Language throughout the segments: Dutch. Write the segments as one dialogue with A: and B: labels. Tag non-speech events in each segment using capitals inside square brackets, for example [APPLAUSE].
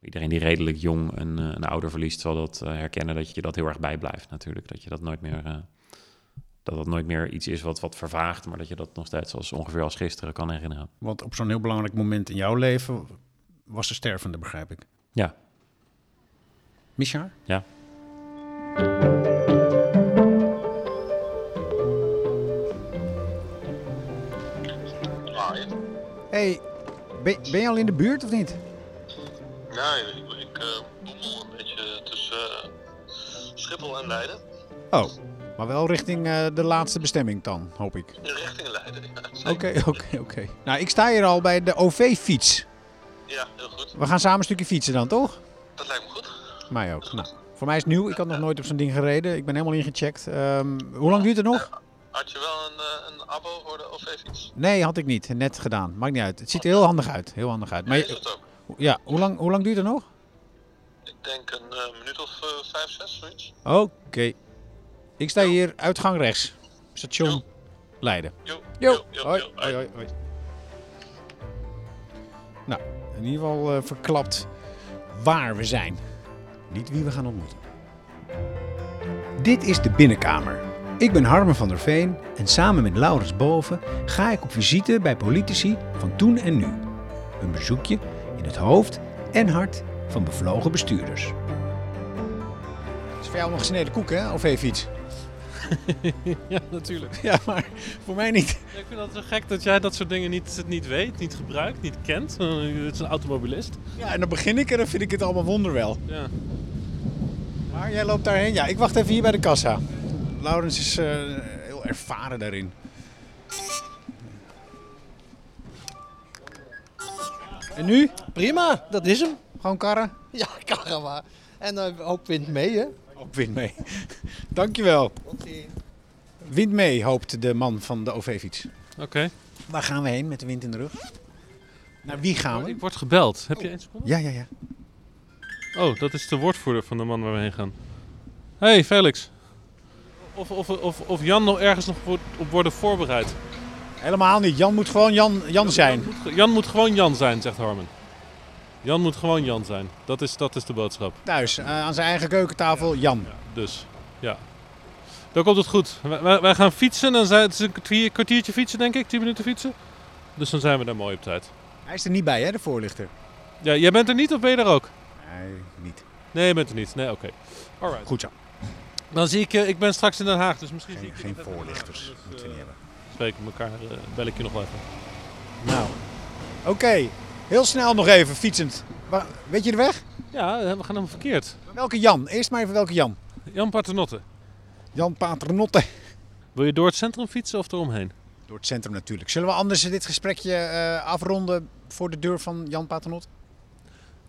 A: iedereen die redelijk jong een, eh, een ouder verliest, zal dat eh, herkennen dat je dat heel erg bijblijft natuurlijk. Dat je dat nooit meer, eh, dat dat nooit meer iets is wat, wat vervaagt, maar dat je dat nog steeds als ongeveer als gisteren kan herinneren.
B: Want op zo'n heel belangrijk moment in jouw leven was de stervende, begrijp ik.
A: Ja.
B: Michar?
A: Ja.
C: Ah,
D: hey, ben, ben je al in de buurt of niet?
C: nee, ik, ik eh, boemel een beetje tussen eh, Schiphol en Leiden.
D: Oh, maar wel richting eh, de laatste bestemming dan, hoop ik.
C: In richting Leiden, ja. zeker.
D: Oké, oké, oké. Nou, ik sta hier al bij de OV-fiets.
C: [LAUGHS] Ja, heel goed.
D: We gaan samen een stukje fietsen dan, toch?
C: Dat lijkt me goed.
D: Mij ook. Nou, voor mij is het nieuw. Ik had nog nooit op zo'n ding gereden. Ik ben helemaal ingecheckt. Ehm, hoe lang duurt het nog?
C: Had je wel een, eh, een abo voor de OV-fiets?
D: Nee, had ik niet. Net gedaan. Maakt niet uit. Het ziet er heel handig uit. Heel handig uit. Maar
C: Is
D: je-
C: het ook?
D: ja, hoe lang, hoe lang duurt het nog?
C: Ik denk een eh, minuut of eh, vijf, zes, zoiets.
D: Oké. Ik sta hier uitgang rechts. Station
C: Jo.
D: Leiden.
C: Jo,
D: Jo.
C: jo,
D: Hoi.
C: jo,
D: Hoi, hoi, hoi. Nou, in ieder geval eh, verklapt waar we zijn. Niet wie we gaan ontmoeten. Dit is de Binnenkamer. Ik ben Harmen van der Veen en samen met Laurens Boven ga ik op visite bij politici van toen en nu. Een bezoekje in het hoofd en hart van bevlogen bestuurders. is voor jou nog gesneden koek, hè? Of even iets?
E: [LAUGHS] Ja, natuurlijk.
D: Ja, maar voor mij niet.
E: Ik vind dat zo gek dat jij dat soort dingen niet, niet weet, niet gebruikt, niet kent. Eh, Het is een automobilist.
D: Ja, en dan begin ik en dan vind ik het allemaal wonderwel.
E: Ja.
D: Maar jij loopt daarheen. Ja, ik wacht even hier bij de kassa. Laurens is eh, heel ervaren daarin. En nu?
F: Prima, dat is hem.
D: Gewoon karren?
F: Ja, karma. En eh, ook wind mee, hè?
D: Ook wind mee. [LAUGHS] Dankjewel. Wind mee, hoopt de man van de OV-fiets.
E: Oké.
D: Waar gaan we heen met de wind in de rug? Naar wie gaan
E: Oh,
D: we?
E: Ik word gebeld. Heb je één seconde?
D: Ja, ja, ja.
E: Oh, dat is de woordvoerder van de man waar we heen gaan. hey, Felix. Of, of, of, of Jan nog ergens nog wordt- op worden voorbereid.
D: Helemaal niet. Jan moet gewoon Jan, Jan zijn.
E: Jan moet, ge- Jan moet gewoon Jan zijn, zegt Harmen. Jan moet gewoon Jan zijn. Dat is, dat is de boodschap.
D: Thuis, eh, aan zijn eigen keukentafel, Jan.
E: Dus, ja. Dan komt het goed. Wij- Wij, wij gaan fietsen. Dan zijn, het is een kwartier- kwartiertje fietsen, denk ik. Tien minuten fietsen. Dus dan zijn we daar mooi op tijd.
D: Hij is er niet bij, hè, de voorlichter?
E: Ja, jij bent er niet of ben je er ook?
D: Nee, niet.
E: Nee, je bent er niet. Nee, oké. Alright.
D: Goed zo.
E: Dan zie ik je, ik ben straks in Den Haag, dus misschien
D: Geen,
E: zie ik je
D: geen
E: nog even in Den Haag.
D: voorlichters.
E: Dus,
D: Moeten we
E: eh,
D: niet hebben.
E: spreken we elkaar, eh, bel ik je nog wel even.
D: Nou, oké. Heel snel nog even fietsend. Wa- Weet je de weg?
E: Ja, eh, we gaan helemaal verkeerd.
D: Welke Jan? Eerst maar even welke Jan.
E: Jan Paternotte,
D: Jan Paternotte.
E: wil je door het centrum fietsen of eromheen?
D: Door het centrum natuurlijk. Zullen we anders dit gesprekje eh, afronden voor de deur van Jan Paternotte?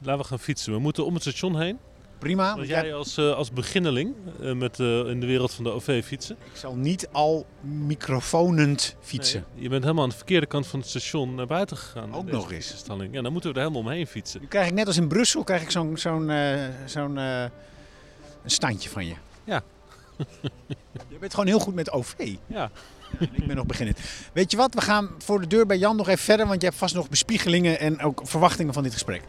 E: Laten we gaan fietsen. We moeten om het station heen.
D: Prima.
E: Want
D: Want jij...
E: jij als, eh, als beginneling eh, met, eh, in de wereld van de OV fietsen.
D: Ik zal niet al microfonend fietsen.
E: Nee, je bent helemaal aan de verkeerde kant van het station naar buiten gegaan. in
D: Ook
E: deze
D: nog eens.
E: fietsenstalling. Ja, dan moeten we er helemaal omheen fietsen.
D: Nu krijg ik net als in Brussel krijg ik zo'n zo'n eh, zo'n, eh, een standje van je.
E: Ja.
D: [LAUGHS] je bent gewoon heel goed met OV.
E: Ja.
D: Ik ben nog beginnend. Weet je wat, we gaan voor de deur bij Jan nog even verder, want je hebt vast nog bespiegelingen en ook verwachtingen van dit gesprek.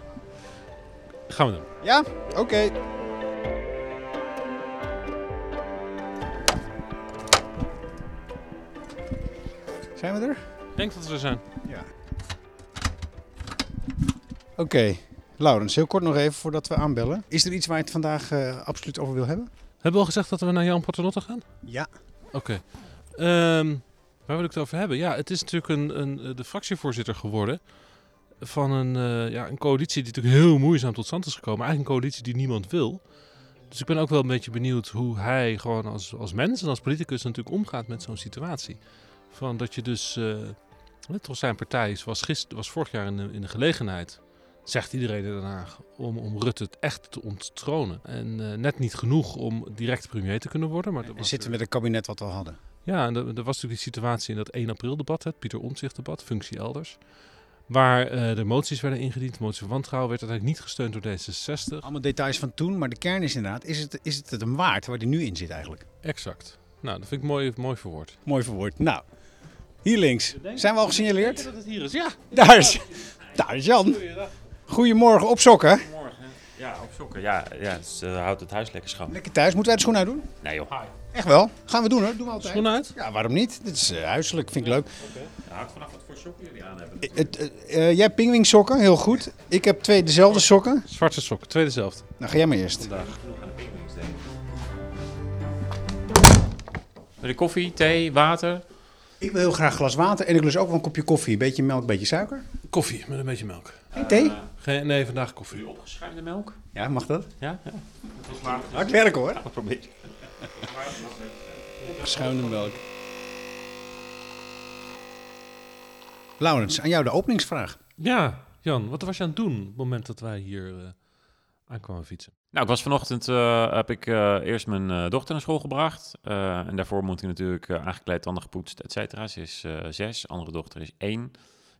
E: Gaan we doen.
D: Ja? Oké. Zijn we er?
E: Ik denk dat we er zijn.
D: Oké. Laurens, heel kort nog even voordat we aanbellen. Is er iets waar je het vandaag eh, absoluut over wil hebben?
E: Hebben we al gezegd dat we naar Jan Paternotte gaan?
D: Ja.
E: Oké. Ehm, waar wil ik het over hebben? Ja, het is natuurlijk een, een, eh, de fractievoorzitter geworden van een, eh, ja, een coalitie die natuurlijk heel moeizaam tot stand is gekomen. Eigenlijk een coalitie die niemand wil. Dus ik ben ook wel een beetje benieuwd hoe hij gewoon als, als mens en als politicus natuurlijk omgaat met zo'n situatie. Van dat je dus, eh, hè, toch zijn partij is- was, gister, was vorig jaar in de, in de gelegenheid, zegt iedereen in Den Haag, om, om Rutte het echt te onttronen. En eh, net niet genoeg om direct premier te kunnen worden. Maar dat
D: We
E: was
D: zitten
E: er-
D: met het kabinet wat we al hadden.
E: ja, en er, er was natuurlijk die situatie in dat 1 april debat, het Pieter Omtzigt debat, functie elders. Waar eh, de moties werden ingediend, de motie van wantrouwen werd uiteindelijk niet gesteund door D66.
D: Allemaal details van toen, maar de kern is inderdaad, is het, is het het hem waard waar die nu in zit eigenlijk?
E: Exact. Nou, dat vind ik mooi, mooi verwoord.
D: Mooi verwoord. Nou, hier links. Zijn we al gesignaleerd?
E: Dat het hier is, ja.
D: Daar is, daar is Jan. Goedemorgen, op sokken.
E: Morgen.
A: Ja, op sokken. Ja, ja ze houdt het huis lekker schoon.
D: Lekker thuis. Moeten wij de schoen uit doen?
A: Nee joh,
D: Echt wel. Gaan we doen hoor. Doen we altijd.
E: Schoen uit?
D: Ja, waarom niet? Dit is eh, huiselijk. Vind ik leuk.
A: houdt vanaf wat voor sokken jullie aan hebben.
D: Het, eh, eh, jij pingwing sokken. Heel goed. Ik heb twee dezelfde sokken.
E: Zwarte sokken, tweede zelfde.
D: Nou, ga jij maar eerst.
A: De koffie, thee, water.
D: Ik wil heel graag glas water en ik lust ook wel een kopje koffie. Beetje melk, beetje suiker.
E: Koffie met een beetje melk.
D: Geen thee?
E: Geen, nee, vandaag koffie.
A: Opgeschuimde melk.
D: Ja, mag dat?
A: Ja, ja.
D: Hard werken hoor.
A: probeer.
D: Schuine melk. Laurens, aan jou de openingsvraag.
E: Ja, Jan, wat was je aan het doen op het moment dat wij hier eh aankwamen fietsen?
A: Nou, ik was vanochtend, eh, heb ik eh, eerst mijn eh, dochter naar school gebracht. Eh, en daarvoor moet hij natuurlijk eh, aangekleed, tanden gepoetst, et cetera. Ze is eh, zes, andere dochter is één.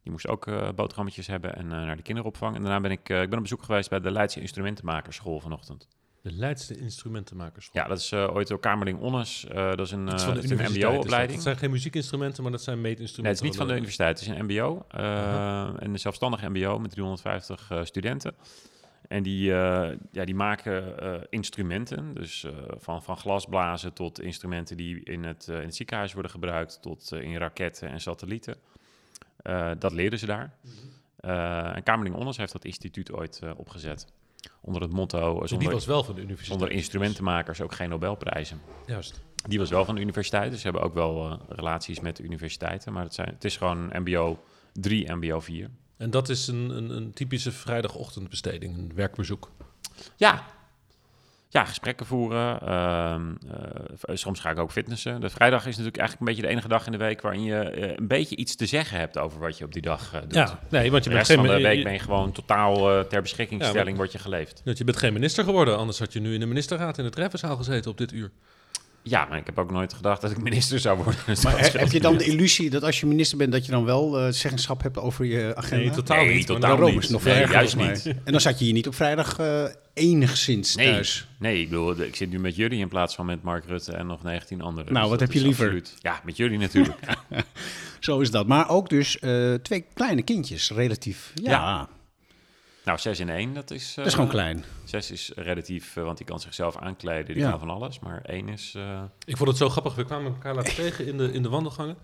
A: Die moest ook eh, boterhammetjes hebben en eh, naar de kinderopvang. En daarna ben ik, eh, ik ben op bezoek geweest bij de Leidse Instrumentenmakerschool vanochtend.
E: De Leidse instrumentenmakers.
A: Ja, dat is eh, ooit door Kamerling Onnes. Eh, dat is een, eh,
E: Iets van de
A: dat is een
E: universiteit is dat.
A: mbo-opleiding.
E: Dat zijn geen muziekinstrumenten, maar dat zijn meetinstrumenten.
A: Nee, het is niet van de universiteit. Het is een MBO. eh, Een zelfstandig MBO met 350 eh, studenten. En die, eh, ja, die maken eh, instrumenten. Dus eh, van, van glasblazen tot instrumenten die in het, eh, in het ziekenhuis worden gebruikt. Tot eh, in raketten en satellieten. Eh, dat leerden ze daar.
E: Mhm.
A: Eh, en Kamerling Onnes heeft dat instituut ooit eh, opgezet. Onder het motto: eh,
E: Dus die
A: zonder,
E: was wel van de universiteit.
A: zonder instrumentenmakers ook geen Nobelprijzen.
E: Juist.
A: Die was wel van de universiteit, dus ze hebben ook wel eh, relaties met de universiteiten. Maar het, zijn, het is gewoon MBO 3, MBO 4.
E: En dat is een, een, een typische vrijdagochtendbesteding, een werkbezoek.
A: Ja. Ja, gesprekken voeren. ehm, eh, soms ga ik ook fitnessen. De vrijdag is natuurlijk eigenlijk een beetje de enige dag in de week waarin je eh, een beetje iets te zeggen hebt over wat je op die dag eh, doet.
E: Ja, nee, want je
A: de rest
E: bent
A: van
E: geen,
A: de
E: je-
A: week
E: je-
A: ben je gewoon totaal eh, ter beschikkingstelling
E: Ja, maar-
A: wordt je geleefd.
E: dat je bent geen minister geworden, anders had je nu in de ministerraad in de treffenzaal gezeten op dit uur.
A: Ja, maar ik heb ook nooit gedacht dat ik minister zou worden. [LAUGHS] Dus dat
D: Maar heb
A: scheelt
D: je dan de
A: natuurlijk.
D: illusie dat als je minister bent, dat je dan wel eh, zeggenschap hebt over je agenda?
E: Nee, totaal
A: Nee,
E: niet. maar
A: totaal
E: daarom
A: niet.
E: is
D: Nog
A: Nee,
D: veel erger
A: juist
D: volgens mij. En dan zat je hier niet op vrijdag eh, enigszins
A: Nee,
D: thuis.
A: nee, ik bedoel, ik zit nu met jullie in plaats van met Mark Rutte en nog 19 anderen. Dus
D: Nou, wat
A: dat
D: heb je
A: is
D: liever?
A: absoluut- Ja, met jullie natuurlijk.
D: [LAUGHS] Zo is dat. Maar ook dus eh, twee kleine kindjes, relatief. Ja,
A: Ja. nou, 6 in 1, dat is...
D: dat is gewoon klein.
A: 6 is relatief, eh, want die kan zichzelf aankleden, die
D: Ja.
A: kan van alles. Maar 1 is... eh,
E: Ik vond het zo grappig. We kwamen elkaar later tegen in de, in de wandelgangen.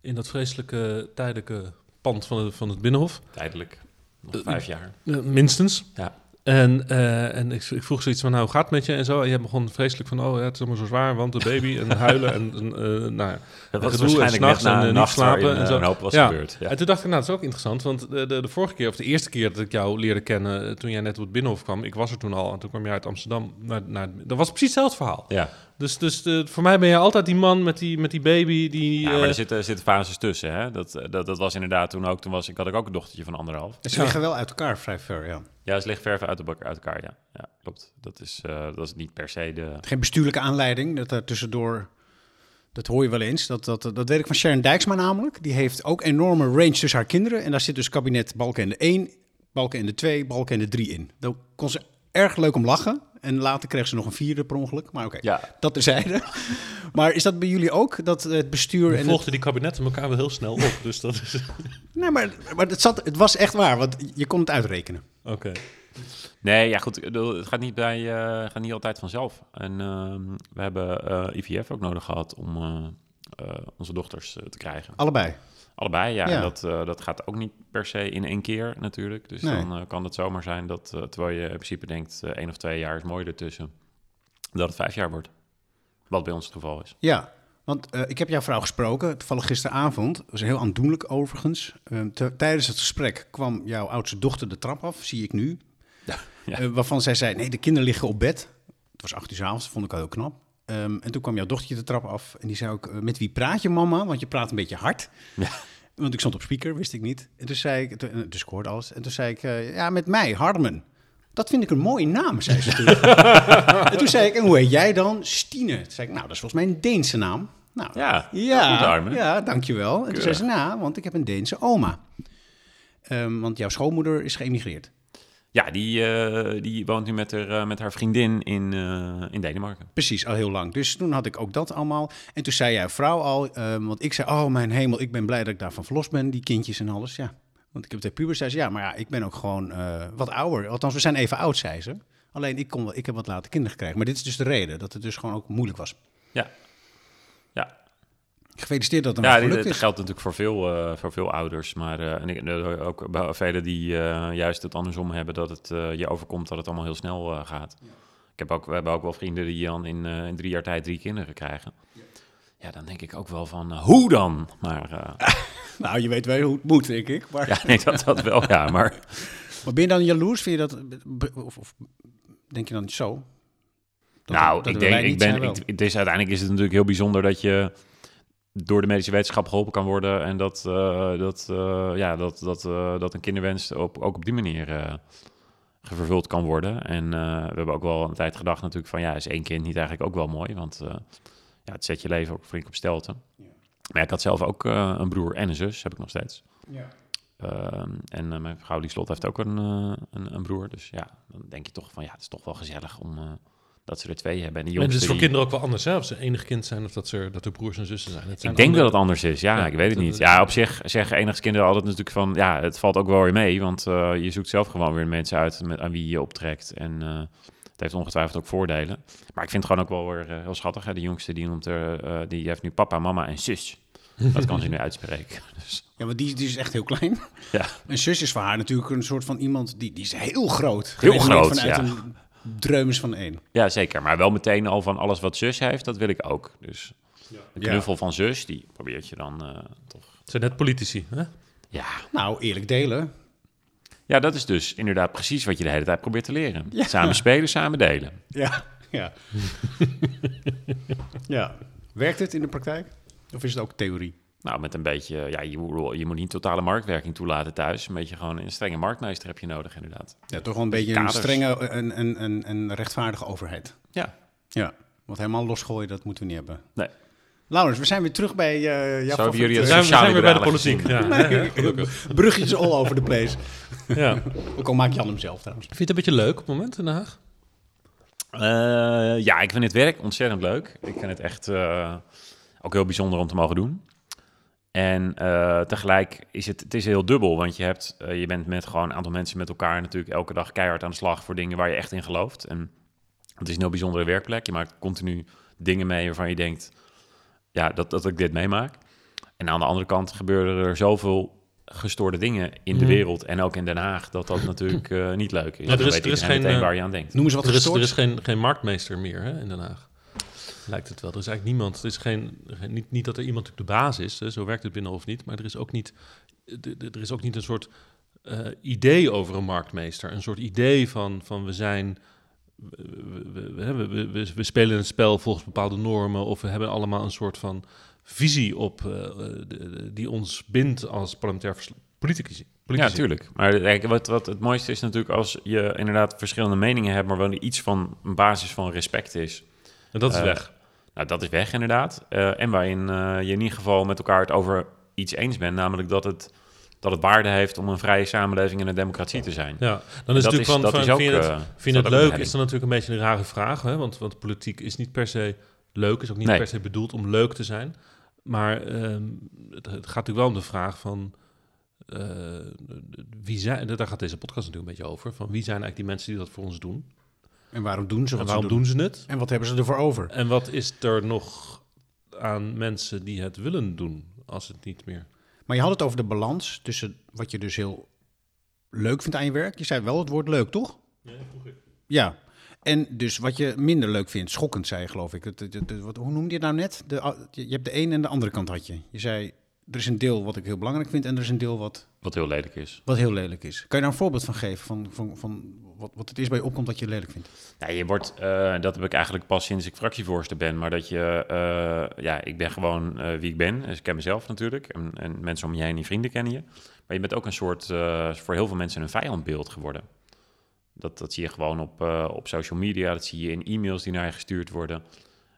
E: In dat vreselijke tijdelijke pand van, de- van het Binnenhof.
A: tijdelijk. Nog vijf jaar.
E: Eh, minstens.
A: Ja.
E: En, eh, en ik, ik vroeg zoiets van, nou, hoe gaat het met je? En zo. En jij begon vreselijk van, oh, ja, het is allemaal zo zwaar. Want de baby en huilen en, en eh, nou ja.
A: Dat
E: gedoe
A: was
E: en
A: waarschijnlijk net
E: s'nachts en,
A: na
E: eh,
A: een
E: niet
A: nacht
E: slapen
A: waarin,
E: en
A: eh,
E: zo.
A: een hoop was
E: Ja.
A: gebeurd. Ja.
E: En toen dacht ik, nou, dat is ook interessant. Want de, de, de vorige keer, of de eerste keer dat ik jou leerde kennen... eh, toen jij net op het Binnenhof kwam, ik was er toen al. En toen kwam jij uit Amsterdam. Naar, naar, dat was precies hetzelfde verhaal.
A: Ja.
E: Dus, dus eh, voor mij ben je altijd die man met die, met die baby die...
A: Ja, maar dus
E: eh,
A: er zitten, er zitten fases tussen. Hè? Dat, eh, dat, dat was inderdaad toen ook. Toen was, ik had ik ook een dochtertje van anderhalf.
D: Ze liggen wel uit elkaar vrij ver, ja.
A: Ja, ze ligt ver uit, elkaar- uit elkaar. Ja, ja klopt. Dat is, eh, dat is niet per se de...
D: Geen bestuurlijke aanleiding, dat daar tussendoor... Dat hoor je wel eens. Dat, dat, dat weet ik van Sharon Dijksma namelijk. Die heeft ook enorme range tussen haar kinderen. En daar zit dus kabinet Balkenende 1, Balkenende 2, Balkenende 3 in. Daar kon ze erg leuk om lachen. En later kreeg ze nog een vierde per ongeluk. Maar oké,
A: Ja.
D: dat terzijde. [LAUGHS] maar is dat bij jullie ook, dat het bestuur...
E: We
D: en het,
E: volgden die kabinetten elkaar wel heel snel op. Dus dat is. [LAUGHS] Oké.
D: nee, maar, maar het, zat, het was echt waar, want je kon het uitrekenen.
A: Nee, ja goed, ik bedoel, het gaat niet, bij, eh, gaat niet altijd vanzelf. En ehm, we hebben eh, IVF ook nodig gehad om eh, eh, onze dochters eh, te krijgen.
D: Allebei.
A: Allebei, ja.
D: Ja.
A: En dat, eh, dat gaat ook niet per se in één keer natuurlijk. Dus
D: Nee.
A: dan eh, kan het zomaar zijn dat, eh, terwijl je in principe denkt eh, één of twee jaar is mooi ertussen, dat het vijf jaar wordt. Wat bij ons het geval is.
D: Ja, want eh, ik heb jouw vrouw gesproken, toevallig gisteravond. Dat was heel aandoenlijk overigens. Eh, te- tijdens het gesprek kwam jouw oudste dochter de trap af, zie ik nu.
A: ja.
D: Eh, waarvan zij zei, nee, de kinderen liggen op bed. Het was acht uur 's avonds, vond ik wel heel knap. Ehm, en toen kwam jouw dochtertje de trap af en die zei ook, eh, met wie praat je mama? Want je praat een beetje hard. Want ik stond op speaker, wist ik niet. En toen zei ik, toen- eh, dus ik hoorde alles. En toen zei ik, eh, ja, met mij, Harmen. Dat vind ik een mooie naam, zei
A: [LAUGHS]
D: ze toen. en toen zei ik, en hoe heet jij dan? Stine. Toen zei ik, nou, dat is volgens mij een Deense naam. Nou,
A: Ja,
D: ja,
A: goed, Harmen.
D: ja, dankjewel. En toen
A: Keurig.
D: zei ze, nou, want ik heb een Deense oma. Ehm, want jouw schoonmoeder is geëmigreerd.
A: Ja, die, eh, die woont nu met haar, eh, met haar vriendin in, eh, in Denemarken.
D: Precies, al heel lang. Dus toen had ik ook dat allemaal. En toen zei jij vrouw al, ehm, want ik zei, oh mijn hemel, ik ben blij dat ik daarvan verlost ben, die kindjes en alles. Ja, want ik heb twee pubers, zei ze, ja, maar ja, ik ben ook gewoon eh, wat ouder. Althans, we zijn even oud, zei ze. Alleen ik, kon, wel- ik heb wat later kinderen gekregen. Maar dit is dus de reden dat het dus gewoon ook moeilijk was.
A: Ja. Ja,
D: Gefeliciteerd dat het
A: ja
D: ja,
A: dit-
D: gelukt
A: dit
D: is.
A: geldt natuurlijk voor veel, eh, voor veel ouders. Maar eh, en ik, eh, ook bij velen die eh, juist het andersom hebben, dat het eh, je overkomt dat het allemaal heel snel eh, gaat. Ik heb ook, we hebben ook wel vrienden die dan in, eh, in drie jaar tijd drie kinderen krijgen. Ja, dan denk ik ook wel van, eh, hoe dan? Maar eh, [LAUGHS]
D: Nou, je weet wel hoe het moet, denk ik. Maar,
A: ja, nee, dat, dat wel, ja. Maar
D: maar ben je dan jaloers? Vind je dat... Of, of denk je dan zo? Dat-
A: nou,
D: dat
A: ik
D: wij
A: denk,
D: niet
A: ik
D: zijn
A: ben,
D: wel.
A: ik, het is, uiteindelijk is het natuurlijk heel bijzonder dat je door de medische wetenschap geholpen kan worden. En dat, eh, dat, eh, ja, dat, dat, eh, dat een kinderwens op, ook op die manier eh, vervuld kan worden. En eh, we hebben ook wel een tijd gedacht natuurlijk van, ja, is één kind niet eigenlijk ook wel mooi? Want eh, ja, het zet je leven ook flink op stelten. Maar ja, ik had zelf ook eh, een broer en een zus, heb ik nog steeds. Ehm, en eh, mijn vrouw, die slot, heeft ook een, eh, een, een broer. Dus ja, dan denk je toch van, ja, het is toch wel gezellig om... eh, dat ze er twee hebben. En die
E: En het
A: jongste
E: is voor
A: die-
E: kinderen ook wel anders, hè? Of ze enig kind zijn of dat, ze, dat er broers en zussen zijn. Het zijn
A: Ik denk dat
E: andere-
A: het anders is. Ja,
E: Ja,
A: ik weet het
E: dat-
A: niet.
E: dat-
A: Ja, op zich zeggen enigskinderen altijd natuurlijk van... ja, het valt ook wel weer mee, want eh, je zoekt zelf gewoon weer mensen uit... Met, aan wie je je optrekt. En eh, het heeft ongetwijfeld ook voordelen. Maar ik vind het gewoon ook wel weer eh, heel schattig. Hè? De jongste die noemt er, eh, die heeft nu papa, mama en zus. Dat kan ze nu uitspreken. [LAUGHS] Dus,
D: Ja, want die, die is echt heel klein.
A: ja.
D: Een zus is voor haar natuurlijk een soort van iemand... Die, die is heel groot.
A: Heel
D: Geredeneerd
A: groot,
D: vanuit
A: ja.
D: een dreumes van één.
A: ja, zeker. Maar wel meteen al van alles wat zus heeft, dat wil ik ook. Dus de
D: Ja.
A: knuffel van zus, die probeert je dan eh, toch...
E: Het zijn net politici, hè?
A: Ja,
D: Nou, eerlijk delen.
A: Ja, dat is dus inderdaad precies wat je de hele tijd probeert te leren. Samen spelen, samen delen.
D: Ja, ja. [LAUGHS] ja. Werkt het in de praktijk? Of is het ook theorie?
A: Nou, met een beetje, ja, je, moet- je moet niet totale marktwerking toelaten thuis. Een beetje gewoon een strenge marktmeester heb je nodig, inderdaad.
D: Ja, toch wel een beetje
A: Kaders.
D: een strenge en, en, en, en rechtvaardige overheid.
A: Ja,
D: Ja. Want helemaal losgooien, dat moeten we niet hebben.
A: nee.
D: Laurens, we zijn weer terug bij eh jouw
A: Zo hebben jullie
D: favoriete-
A: het
D: [LAUGHS]
E: zijn we- zijn we bij de
A: sociaal-liberale
E: politiek,
A: gezien.
E: ja.
D: Bruggetjes all over the place.
E: Ja.
D: [LAUGHS] Ook al maakt Jan hem zelf trouwens.
E: Vind je het een beetje leuk op het moment in Den Haag?
A: Eh, ja, ik vind het werk ontzettend leuk. Ik vind het echt eh, ook heel bijzonder om te mogen doen. En eh, tegelijk is het, het is heel dubbel, want je, hebt, eh, je bent met gewoon een aantal mensen met elkaar natuurlijk elke dag keihard aan de slag voor dingen waar je echt in gelooft. En het is een heel bijzondere werkplek. Je maakt continu dingen mee waarvan je denkt, ja, dat, dat ik dit meemaak. En aan de andere kant gebeuren er zoveel gestoorde dingen in de wereld en ook in Den Haag, dat dat natuurlijk eh, niet leuk is.
E: Mhm. er
A: Dan
E: is-
A: weet
E: er is
A: iedereen
E: geen,
A: meteen
E: eh,
A: waar je aan denkt.
D: Noem eens wat
E: er is,
D: gestoord.
E: er is geen, geen marktmeester meer hè, in Den Haag. Lijkt het wel. Er is eigenlijk niemand. Er is geen, geen- niet, niet dat er iemand natuurlijk de baas is. Hè, zo werkt het binnenhof niet. Maar er is ook niet, d- d- er is ook niet een soort eh, idee over een marktmeester. Een soort idee van, van we zijn. We, we- we- we- we- we- we spelen een spel volgens bepaalde normen. Of we hebben allemaal een soort van visie op. eh, eh, de- de- die ons bindt als parlementair versla- politici.
A: Ja,
E: politici.
A: natuurlijk. Maar kijk, wat, wat het mooiste is natuurlijk als je inderdaad verschillende meningen hebt, maar wel iets van een basis van respect is.
E: En dat is
A: Eh,
E: weg.
A: Nou, dat is weg inderdaad. Eh, en waarin eh, je in ieder geval met elkaar het over iets eens bent, namelijk dat het, dat het waarde heeft om een vrije samenleving en een democratie te zijn.
E: Ja, dan is
A: dat
E: het natuurlijk
A: is-
E: van,
A: dat
E: van,
A: is ook,
E: vind je het,
A: eh,
E: vind je
A: dat ook
E: het
A: een
E: leuk,
A: redding.
E: is dan natuurlijk een beetje een rare vraag. Hè? Want, want politiek is niet per se leuk, is ook niet
A: Nee.
E: per se bedoeld om leuk te zijn. Maar ehm, het, het gaat natuurlijk wel om de vraag van eh, wie zijn, daar gaat deze podcast natuurlijk een beetje over, van wie zijn eigenlijk die mensen die dat voor ons doen?
D: En waarom doen ze wat
E: en waarom
D: ze
E: doen.
D: doen?
E: ze het?
D: En wat hebben ze ervoor over?
E: En wat is er nog aan mensen die het willen doen als het niet meer...
D: Maar je had het over de balans tussen wat je dus heel leuk vindt aan je werk. Je zei wel het woord leuk, toch? Ja, En dus wat je minder leuk vindt, schokkend zei je, geloof ik. Het- het- het- wat, hoe noemde je het nou net? De, je hebt de een en de andere kant had je. Je zei, er is een deel wat ik heel belangrijk vind en er is een deel wat,
A: Wat heel lelijk is.
D: wat heel lelijk is. Kan je daar een voorbeeld van geven van, van, van wat, wat het is bij je opkomt dat je lelijk vindt?
A: Nou, je wordt, eh, dat heb ik eigenlijk pas sinds ik fractievoorzitter ben, maar dat je, eh, ja, ik ben gewoon eh, wie ik ben. Dus ik ken mezelf natuurlijk en, en mensen om je heen, die vrienden kennen je. Maar je bent ook een soort, eh, voor heel veel mensen, een vijandbeeld geworden. Dat, dat zie je gewoon op, eh, op social media, dat zie je in e-mails die naar je gestuurd worden.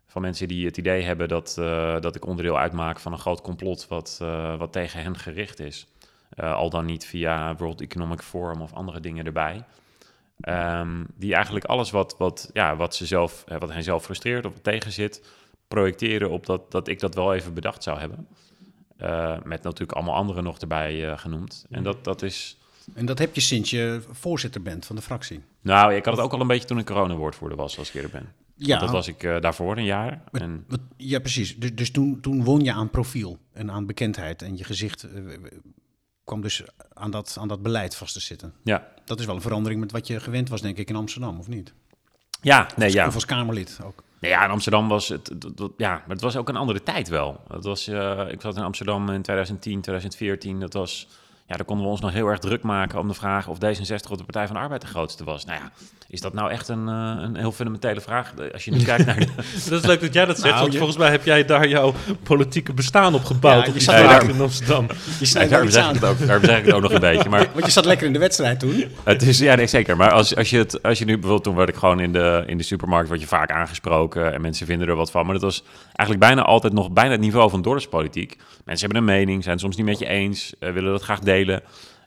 A: Van mensen die het idee hebben dat, eh, dat ik onderdeel uitmaak van een groot complot wat, eh, wat tegen hen gericht is. Eh, al dan niet via World Economic Forum of andere dingen erbij. Ehm, die eigenlijk alles wat, wat, ja, wat, ze zelf, eh, wat hen zelf frustreert of tegen zit, projecteren op dat, dat ik dat wel even
D: Mm.
A: bedacht zou hebben. Eh, met natuurlijk allemaal anderen nog erbij eh, genoemd. En dat, dat is
D: En dat heb je sinds je voorzitter bent van de fractie.
A: Nou, ik had het ook al een beetje toen ik corona-woordvoerder was, als ik eerder ben.
D: Ja.
A: Want Dat was ik eh, daarvoor een jaar. En,
D: Wat- Ja, precies. Dus, dus toen, toen won je aan profiel en aan bekendheid. En je gezicht eh, kwam dus aan dat, aan dat beleid vast te zitten.
A: ja.
D: Dat is wel een verandering met wat je gewend was, denk ik, in Amsterdam, of niet?
A: Ja, nee, ja.
D: Of als Kamerlid
A: [LAUGHS]
D: ook.
A: Nee, Nou ja, in Amsterdam was het, dat- dat- ja, maar het was ook een andere tijd wel. Het was, eh, ik zat in Amsterdam in 2010, 2014. Dat was, ja, daar konden we ons nog heel erg druk maken om de vraag of D66 of de Partij van de Arbeid de grootste was. Nou ja, is dat nou echt een, eh, een heel fundamentele vraag? De- Als je nu kijkt naar de...
E: Dat is leuk dat jij dat zegt,
D: Nou,
E: want
D: je-
E: volgens mij heb jij daar jouw politieke bestaan op gebouwd
D: Ja,
E: op
D: je
E: die
D: zat
E: zaak
A: daar-
E: in Amsterdam.
D: Je
A: Nee,
D: snijdt
A: [LAUGHS]
D: wel
A: daarom,
D: iets
A: zeg
D: aan.
A: ik het ook, daarom zeg ik het ook nog een beetje. Maar
D: [LAUGHS] Want je zat lekker in de wedstrijd toen.
A: Het is, ja, nee, zeker. Maar als, als, je het, als je nu bijvoorbeeld, toen werd ik gewoon in de, in de supermarkt, word je vaak aangesproken en mensen vinden er wat van. Maar dat was eigenlijk bijna altijd nog bijna het niveau van dorpspolitiek. Mensen hebben een mening, zijn het soms niet met je eens, eh, willen dat graag delen.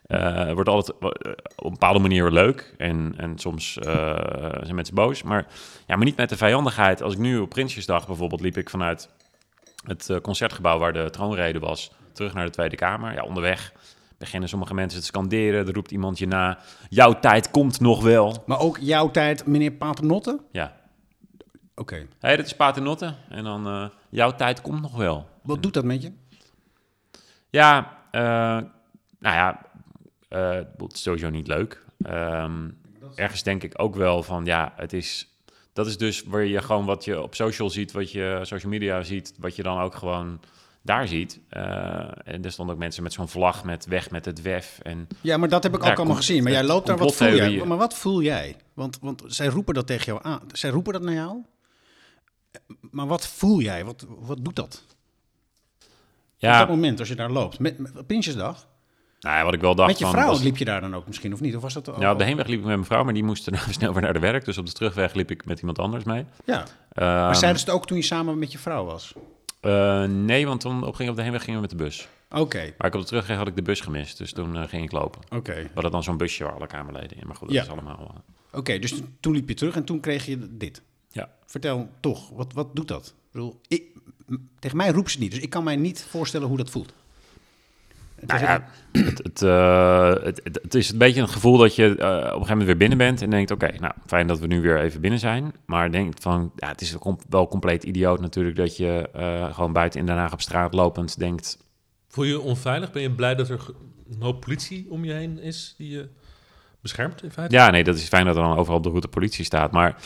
A: Eh, Het wordt altijd wa- eh, op een bepaalde manier leuk en, en soms eh, zijn mensen boos. Maar, ja, maar niet met de vijandigheid. Als ik nu op Prinsjesdag bijvoorbeeld liep ik vanuit het eh, concertgebouw waar de troonrede was, terug naar de Tweede Kamer. Ja, onderweg beginnen sommige mensen te scanderen. Er roept iemand je na, jouw tijd komt nog wel.
D: Maar ook jouw tijd, meneer Paternotte? Oké.
A: Ja, hé, hey, dit is Paternotte. En dan, eh, jouw tijd komt nog wel.
D: Wat doet dat met je?
A: Ja, eh, nou ja, eh, het is sowieso niet leuk. Ehm, ergens denk ik ook wel van, ja, het is... Dat is dus waar je gewoon wat je op social ziet, wat je social media ziet, wat je dan ook gewoon daar ziet. Eh, en er stonden ook mensen met zo'n vlag met weg met het WEF. En
D: Ja, maar dat heb ik
A: Ja,
D: ook allemaal
A: com-
D: gezien. Maar jij loopt daar, wat voel jij?
A: complottheorieën.
D: Maar wat voel jij? Want, want zij roepen dat tegen jou aan. Zij roepen dat naar jou. Eh, Maar wat voel jij? Wat, wat doet dat? Op dat moment, als je daar loopt. Met, met Prinsjesdag.
A: Nou ja, wat ik wel dacht
D: met je
A: van,
D: vrouw
A: was-
D: liep je daar dan ook misschien, of niet? Of was dat al-
A: Nou, op de heenweg liep ik met mijn vrouw, maar die [LAUGHS] moest daarna snel weer naar de werk. Dus op de terugweg liep ik met iemand anders mee.
D: Ja.
A: Ehm,
D: Maar zeiden ze het ook toen je samen met je vrouw was?
A: eh, nee, want toen op, ging op de heenweg gingen we met de bus.
D: Oké,
A: Maar ik op de terugweg had ik de bus gemist, dus toen eh, ging ik lopen.
D: oké.
A: We hadden dan zo'n busje waar alle kamerleden in. Maar goed, dat
D: Ja.
A: is allemaal... eh,
D: Oké, dus t- toen liep je terug en toen kreeg je dit.
A: ja.
D: Vertel toch, wat, wat doet dat? Ik bedoel, ik, m- tegen mij roept ze niet, dus ik kan mij niet voorstellen hoe dat voelt.
A: Nou ja, het, het, eh, het, het, het is een beetje een gevoel dat je eh, op een gegeven moment weer binnen bent en denkt, oké, nou, fijn dat we nu weer even binnen zijn. Maar denk van, ja, het is wel com- wel compleet idioot natuurlijk dat je eh, gewoon buiten in Den Haag op straat lopend denkt,
E: Voel je je onveilig? Ben je blij dat er ge- een hoop politie om je heen is die je beschermt in feite?
A: Ja, nee, dat is fijn dat er dan overal op de route politie staat. Maar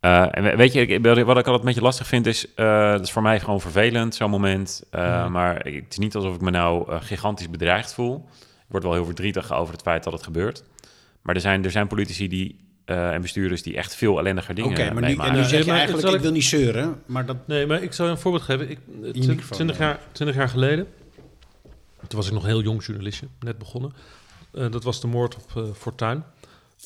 A: eh, en we- weet je, ik, wat ik altijd een beetje lastig vind is... eh dat is voor mij gewoon vervelend, zo'n moment. Eh,
D: Mhm.
A: Maar ik- het is niet alsof ik me nou eh, gigantisch bedreigd voel. Ik word wel heel verdrietig over het feit dat het gebeurt. Maar er zijn, er zijn politici die, eh, en bestuurders die echt veel ellendiger dingen
D: Oké, maar nu, en
A: meemaken.
D: nu
E: Ja,
D: zeg je
E: maar
D: eigenlijk,
E: zal
D: ik
E: ik-
D: wil niet zeuren, maar dat...
E: Nee, maar ik zal je een voorbeeld geven. Ik, eh, twin-
D: microfoon,
E: 20,
D: ja.
E: jaar, 20 jaar geleden, toen was ik nog heel jong journalistje, net begonnen. Eh, dat was de moord op eh, Fortuin.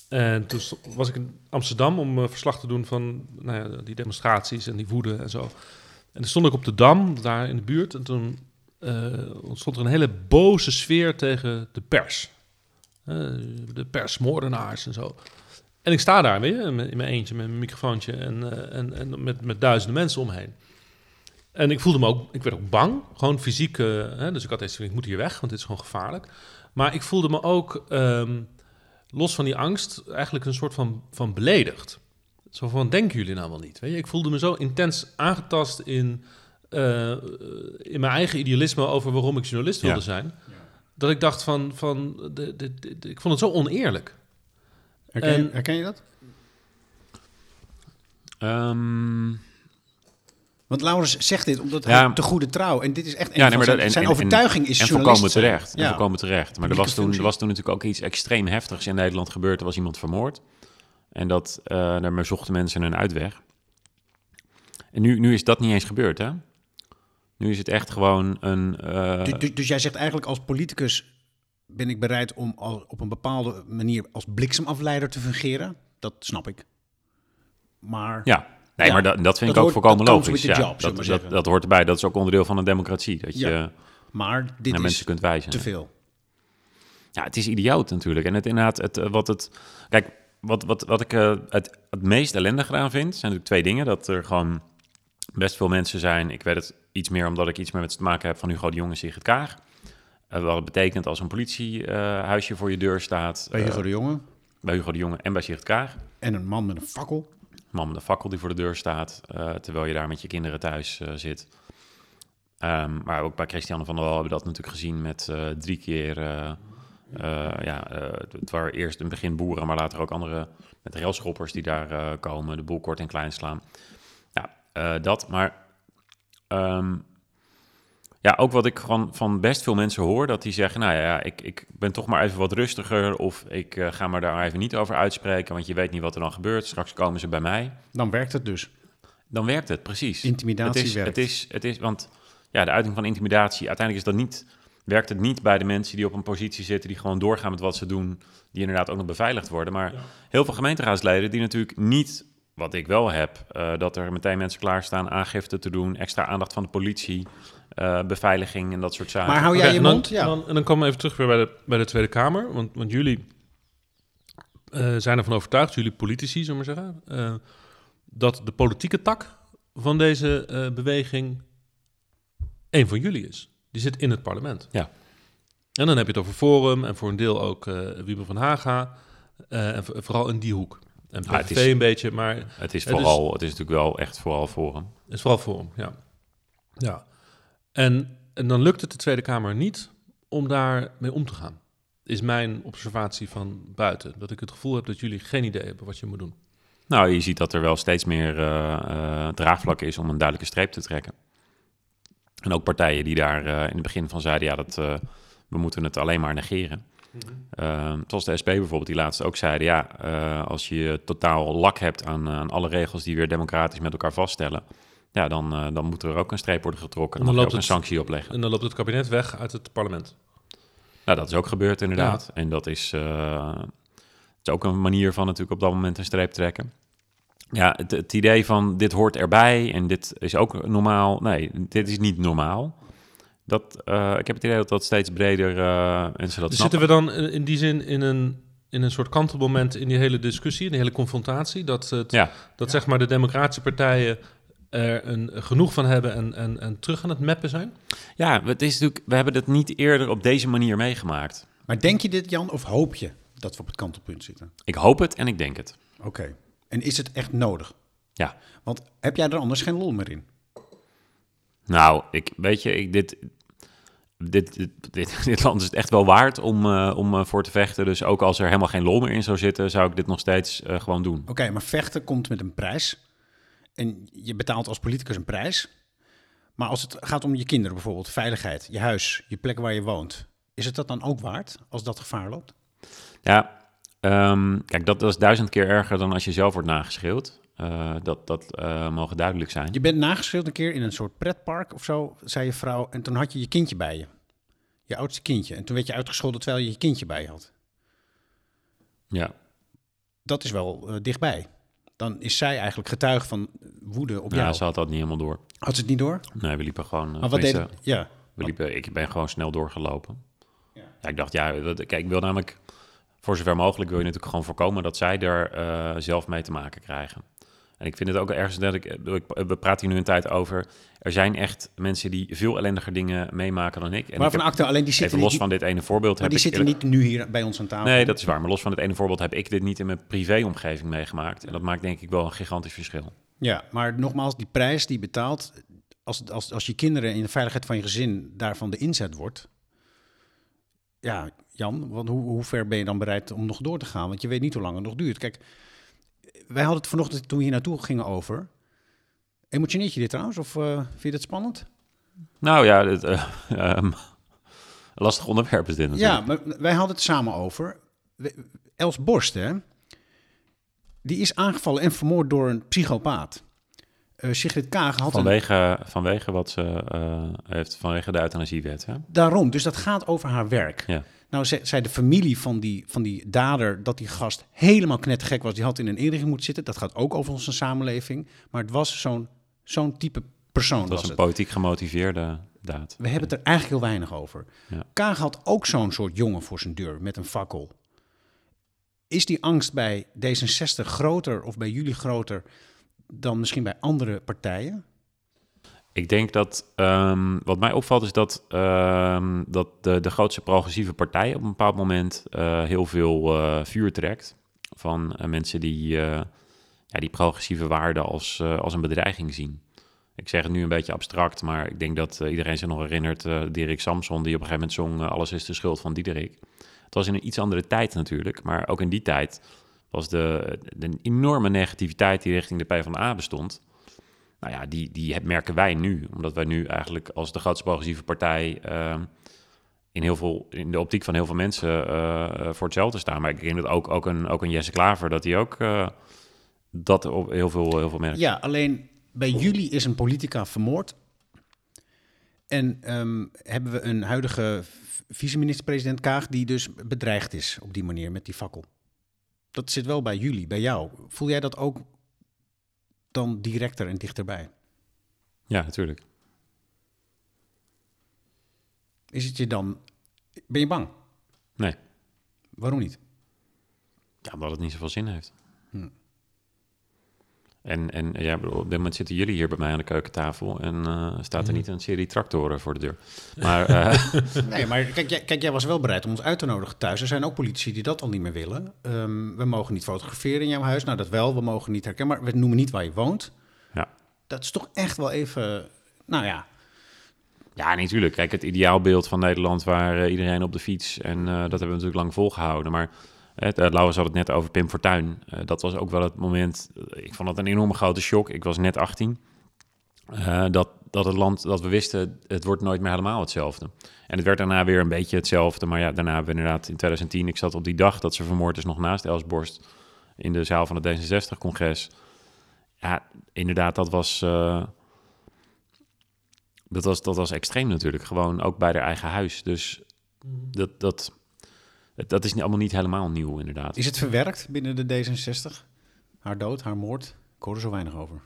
E: En toen sto- was ik in Amsterdam om eh, verslag te doen van nou ja, die demonstraties en die woede en zo. En toen stond ik op de Dam, daar in de buurt. En toen eh, ontstond er een hele boze sfeer tegen de pers. Eh, de persmoordenaars en zo. En ik sta daar, weet je, in mijn in mijn eentje met mijn microfoontje en, eh, en, en met, met duizenden mensen omheen. En ik voelde me ook, ik werd ook bang, gewoon fysiek. eh, hè, dus ik had deze, ik moet hier weg, want dit is gewoon gevaarlijk. Maar ik voelde me ook, ehm, los van die angst, eigenlijk een soort van, van beledigd. Zo van, denken jullie nou wel niet? Weet je? Ik voelde me zo intens aangetast in, eh, eh, in mijn eigen idealisme over waarom ik journalist wilde
A: Ja.
E: zijn. Dat ik dacht van, van de, de, de- de- ik vond het zo oneerlijk.
D: Herken, je-
E: En-
D: herken je dat?
A: Ehm,
D: Want Laurens zegt dit omdat
A: Ja.
D: hij te goede trouw... En dit is echt...
A: Ja,
D: Ja,
A: nee, maar
D: zijn,
A: dat- en-
D: zijn
A: en- en-
D: overtuiging is
A: en
D: journalist
A: voorkomen
D: zijn.
A: terecht. En
D: Ja.
A: voorkomen terecht. Maar er was, toen, er was toen natuurlijk ook iets extreem heftigs in Nederland gebeurd. Er was iemand vermoord. En dat, eh daarmee zochten mensen een uitweg. En nu, nu is dat niet eens gebeurd, hè? Nu is het echt gewoon een... eh,
D: Du- du- dus jij zegt eigenlijk als politicus ben ik bereid om al- op een bepaalde manier als bliksemafleider te fungeren. Dat snap ik. Maar
A: ja, nee,
D: Ja.
A: maar dat, dat vind
D: Dat
A: ik ook
D: hoort-
A: voorkomen
D: dat comes
A: logisch.
D: with the
A: Ja,
D: job, zullen
A: dat,
D: we
A: dat,
D: zeggen.
A: dat hoort erbij. Dat is ook onderdeel van een democratie. Dat je
D: Ja. Maar dit
A: naar
D: is
A: mensen kunt wijzen.
D: te veel.
A: Ja, het is idioot natuurlijk. En het inderdaad, het, eh, wat het. Kijk, wat, wat, wat ik eh, het, het meest ellendig eraan vind, zijn natuurlijk twee dingen. Dat er gewoon best veel mensen zijn. Ik weet het iets meer omdat ik iets meer met ze te maken heb van Hugo de Jong en Sigrid Kaag. Eh, wat het betekent als een politiehuisje eh, voor je deur staat.
D: Bij
A: eh,
D: Hugo de Jonge.
A: bij Hugo de Jonge en bij Sigrid Kaag.
D: En een man met een fakkel.
A: man met een fakkel die voor de deur staat, eh, terwijl je daar met je kinderen thuis eh, zit. Ehm, maar ook bij Christiane van der Wal hebben we dat natuurlijk gezien met eh, drie keer... eh, eh, ja, eh, het waren eerst in het begin boeren, maar later ook andere... met railschoppers die daar eh, komen, de boel kort en klein slaan. Ja, eh, dat, maar... ehm, ja, ook wat ik van, van best veel mensen hoor, dat die zeggen... nou ja, ik, ik ben toch maar even wat rustiger... of ik eh, ga me daar even niet over uitspreken... want je weet niet wat er dan gebeurt. Straks komen ze bij mij
D: Dan werkt het dus.
A: dan werkt het precies.
D: Intimidatie
A: het is,
D: werkt.
A: Het is, het is, want ja, de uiting van intimidatie, uiteindelijk is dat niet, werkt het niet bij de mensen die op een positie zitten, die gewoon doorgaan met wat ze doen, die inderdaad ook nog beveiligd worden. Maar heel veel gemeenteraadsleden die natuurlijk niet, wat ik wel heb, eh, dat er meteen mensen klaarstaan aangifte te doen, extra aandacht van de politie, eh, beveiliging en dat soort zaken.
D: Maar hou jij
E: Oké,
D: je
E: en dan-
D: mond? Ja.
E: En dan, en dan komen we even terug weer bij de, bij de Tweede Kamer. Want, want jullie eh, zijn ervan overtuigd, jullie politici, zullen we maar zeggen, eh, dat de politieke tak van deze eh, beweging één van jullie is. Die zit in het parlement.
A: Ja.
E: En dan heb je het over Forum en voor een deel ook eh Wiebe van Haga. eh, en v- vooral in die hoek. En PVV
A: Ah, het is-
E: een beetje, maar
A: het is
E: het is-
A: vooral, het is natuurlijk wel echt vooral forum.
E: is vooral voor hem, ja. ja. En, en dan lukt het de Tweede Kamer niet om daarmee om te gaan. Is mijn observatie van buiten. Dat ik het gevoel heb dat jullie geen idee hebben wat je moet doen.
A: Nou, je ziet dat er wel steeds meer eh, eh, draagvlak is om een duidelijke streep te trekken. En ook partijen die daar eh, in het begin van zeiden, ja, dat, eh, we moeten het alleen maar negeren.
E: Mhm.
A: Ehm, zoals de SP bijvoorbeeld, die laatst ook zeiden, ja, eh, als je totaal lak hebt aan, eh, aan alle regels die weer democratisch met elkaar vaststellen, ja, dan, eh, dan moet er ook een streep worden getrokken. Dan,
E: Dan
A: mag
E: loopt
A: je ook
E: het-
A: een sanctie opleggen.
E: En dan loopt het kabinet weg uit het parlement.
A: Nou, dat is ook gebeurd inderdaad. En dat is, eh, het is ook een manier van natuurlijk op dat moment een streep trekken. Ja, het, het idee van dit hoort erbij en dit is ook normaal. Nee, dit is niet normaal. Dat, eh, ik heb het idee dat dat steeds breder eh mensen dat snappen.
E: Dus zitten we dan in in die zin in een, in een soort kantelmoment in die hele discussie, in die hele confrontatie. Dat, het,
A: Ja.
E: dat zeg maar de democratische partijen er een, genoeg van hebben en, en, en terug aan het mappen zijn.
A: Ja, het is natuurlijk, we hebben dat niet eerder op deze manier meegemaakt.
D: Maar denk je dit, Jan, of hoop je dat we op het kantelpunt zitten?
A: Ik hoop het en ik denk het.
D: Oké. En is het echt nodig?
A: Ja.
D: Want heb jij er anders geen lol meer in?
A: Nou, ik weet je, ik, dit, dit, dit, dit, [LAUGHS] dit land is het echt wel waard om, eh, om eh, voor te vechten. Dus ook als er helemaal geen lol meer in zou zitten, zou ik dit nog steeds eh, gewoon doen.
D: Oké, maar vechten komt met een prijs. En je betaalt als politicus een prijs. Maar als het gaat om je kinderen bijvoorbeeld, veiligheid, je huis, je plek waar je woont. Is het dat dan ook waard als dat gevaar loopt?
A: Ja, ehm, kijk, dat, dat is duizend keer erger dan als je zelf wordt nageschreeuwd. Eh, dat dat eh, mogen duidelijk zijn.
D: Je bent nageschreeuwd een keer in een soort pretpark of zo, zei je vrouw. En toen had je je kindje bij je. Je oudste kindje. En toen werd je uitgescholden terwijl je je kindje bij je had.
A: Ja.
D: Dat is wel eh, dichtbij. Dan is zij eigenlijk getuige van woede op
A: ja,
D: jou.
A: nou, ze had dat niet helemaal door.
D: Had ze het niet door?
A: Nee, we liepen gewoon... eh,
D: Maar wat deed
A: tenminste,
D: het- Ja.
A: We liepen, ik ben gewoon snel doorgelopen. Ja. ik dacht, ja, dat, kijk, ik wil namelijk voor zover mogelijk wil je natuurlijk gewoon voorkomen dat zij er eh, zelf mee te maken krijgen. En ik vind het ook ergens dat ik, eh, ik- we praten hier nu een tijd over. Er zijn echt mensen die veel ellendiger dingen meemaken dan ik. En
D: Maar
A: ik
D: van
A: heb,
D: acte, alleen die zitten,
A: even
D: niet,
A: los van dit ene voorbeeld.
D: maar
A: heb
D: die
A: ik
D: zitten
A: eerlijk-
D: niet nu hier bij ons aan tafel.
A: Nee, dat is waar. Maar los van het ene voorbeeld heb ik dit niet in mijn privéomgeving meegemaakt. En dat maakt denk ik wel een gigantisch verschil.
D: Ja, maar nogmaals, die prijs die je betaalt, als, als, als je kinderen in de veiligheid van je gezin daarvan de inzet wordt. Ja, Jan, want hoe, hoe ver ben je dan bereid om nog door te gaan? Want je weet niet hoe lang het nog duurt. Kijk, wij hadden het vanochtend toen we hier naartoe gingen over. Emotioneert je dit trouwens? Of eh, vind je dit spannend?
A: Nou ja, dit, eh, [LAUGHS] ehm, lastig onderwerp is dit natuurlijk.
D: Ja, maar wij hadden het samen over. We- Els Borst, hè? Die is aangevallen en vermoord door een psychopaat. Eh Sigrid Kaag had een
A: Vanwege, vanwege wat ze eh, heeft, vanwege de euthanasiewet. Hè?
D: Daarom, dus dat gaat over haar werk.
A: Ja.
D: Nou ze- zei de familie van die, van die dader dat die gast helemaal knettergek was. Die had in een inrichting moeten zitten. Dat gaat ook over onze samenleving. Maar het was zo'n zo'n type persoon.
A: Dat
D: was
A: was een
D: het.
A: politiek gemotiveerde daad.
D: We hebben het er eigenlijk heel weinig over.
A: Ja.
D: Kaag had ook zo'n soort jongen voor zijn deur met een fakkel. Is die angst bij D66 groter of bij jullie groter dan misschien bij andere partijen?
A: Ik denk dat ehm, wat mij opvalt is dat, ehm, dat de, de grootste progressieve partij op een bepaald moment eh, heel veel eh, vuur trekt van eh, mensen die, eh, ja, die progressieve waarden als, eh, als een bedreiging zien. Ik zeg het nu een beetje abstract, maar ik denk dat eh, iedereen zich nog herinnert eh Dirk Samson, die op een gegeven moment zong eh, Alles is de schuld van Diederik. Het was in een iets andere tijd natuurlijk, maar ook in die tijd was de, de enorme negativiteit die richting de PvdA bestond, nou ja, die, die heb- merken wij nu. Omdat wij nu eigenlijk als de grootste progressieve partij... ehm, in, heel veel, in de optiek van heel veel mensen eh, eh, voor hetzelfde staan. Maar ik denk dat ook, ook, een, ook een Jesse Klaver... dat hij ook eh, dat op heel veel, heel veel merkt.
D: Ja, alleen bij jullie is een politica vermoord. En ehm, hebben we een huidige v- vice-minister-president Kaag... die dus bedreigd is op die manier met die fakkel. Dat zit wel bij jullie, bij jou. Voel jij dat ook dan directer en dichterbij?
A: ja natuurlijk.
D: Is het je dan... Ben je bang?
A: Nee.
D: Waarom niet?
A: Ja, omdat het niet zoveel zin heeft. En, en ja, ik bedoel, op dit moment zitten jullie hier bij mij aan de keukentafel en eh, staat er niet een serie tractoren voor de deur. Maar eh, [LAUGHS]
D: Nee, maar kijk jij, kijk, jij was wel bereid om ons uit te nodigen thuis. Er zijn ook politici die dat al niet meer willen. Ehm, we mogen niet fotograferen in jouw huis. Nou, dat wel. We mogen niet herkennen. Maar we noemen niet waar je woont.
A: ja.
D: Dat is toch echt wel even... Nou ja,
A: ja, natuurlijk. Kijk, het ideaalbeeld van Nederland waar eh, iedereen op de fiets en eh, dat hebben we natuurlijk lang volgehouden. Maar het, eh, Laurens had het net over Pim Fortuyn. Eh, dat was ook wel het moment, eh, ik vond dat een enorme grote shock. Ik was net 18. Eh, dat, dat het land, dat we wisten, het wordt nooit meer helemaal hetzelfde. En het werd daarna weer een beetje hetzelfde. Maar ja, daarna hebben we inderdaad in 2010, ik zat op die dag dat ze vermoord is nog naast Elsborst in de zaal van het D66-congres. Ja, inderdaad, dat was, eh, dat, was, dat was extreem natuurlijk. Gewoon ook bij haar eigen huis. Dus
D: Mhm.
A: dat, dat, dat is niet- allemaal niet helemaal nieuw, inderdaad.
D: Is het verwerkt binnen de D66? Haar dood, haar moord? Ik hoor er zo weinig over.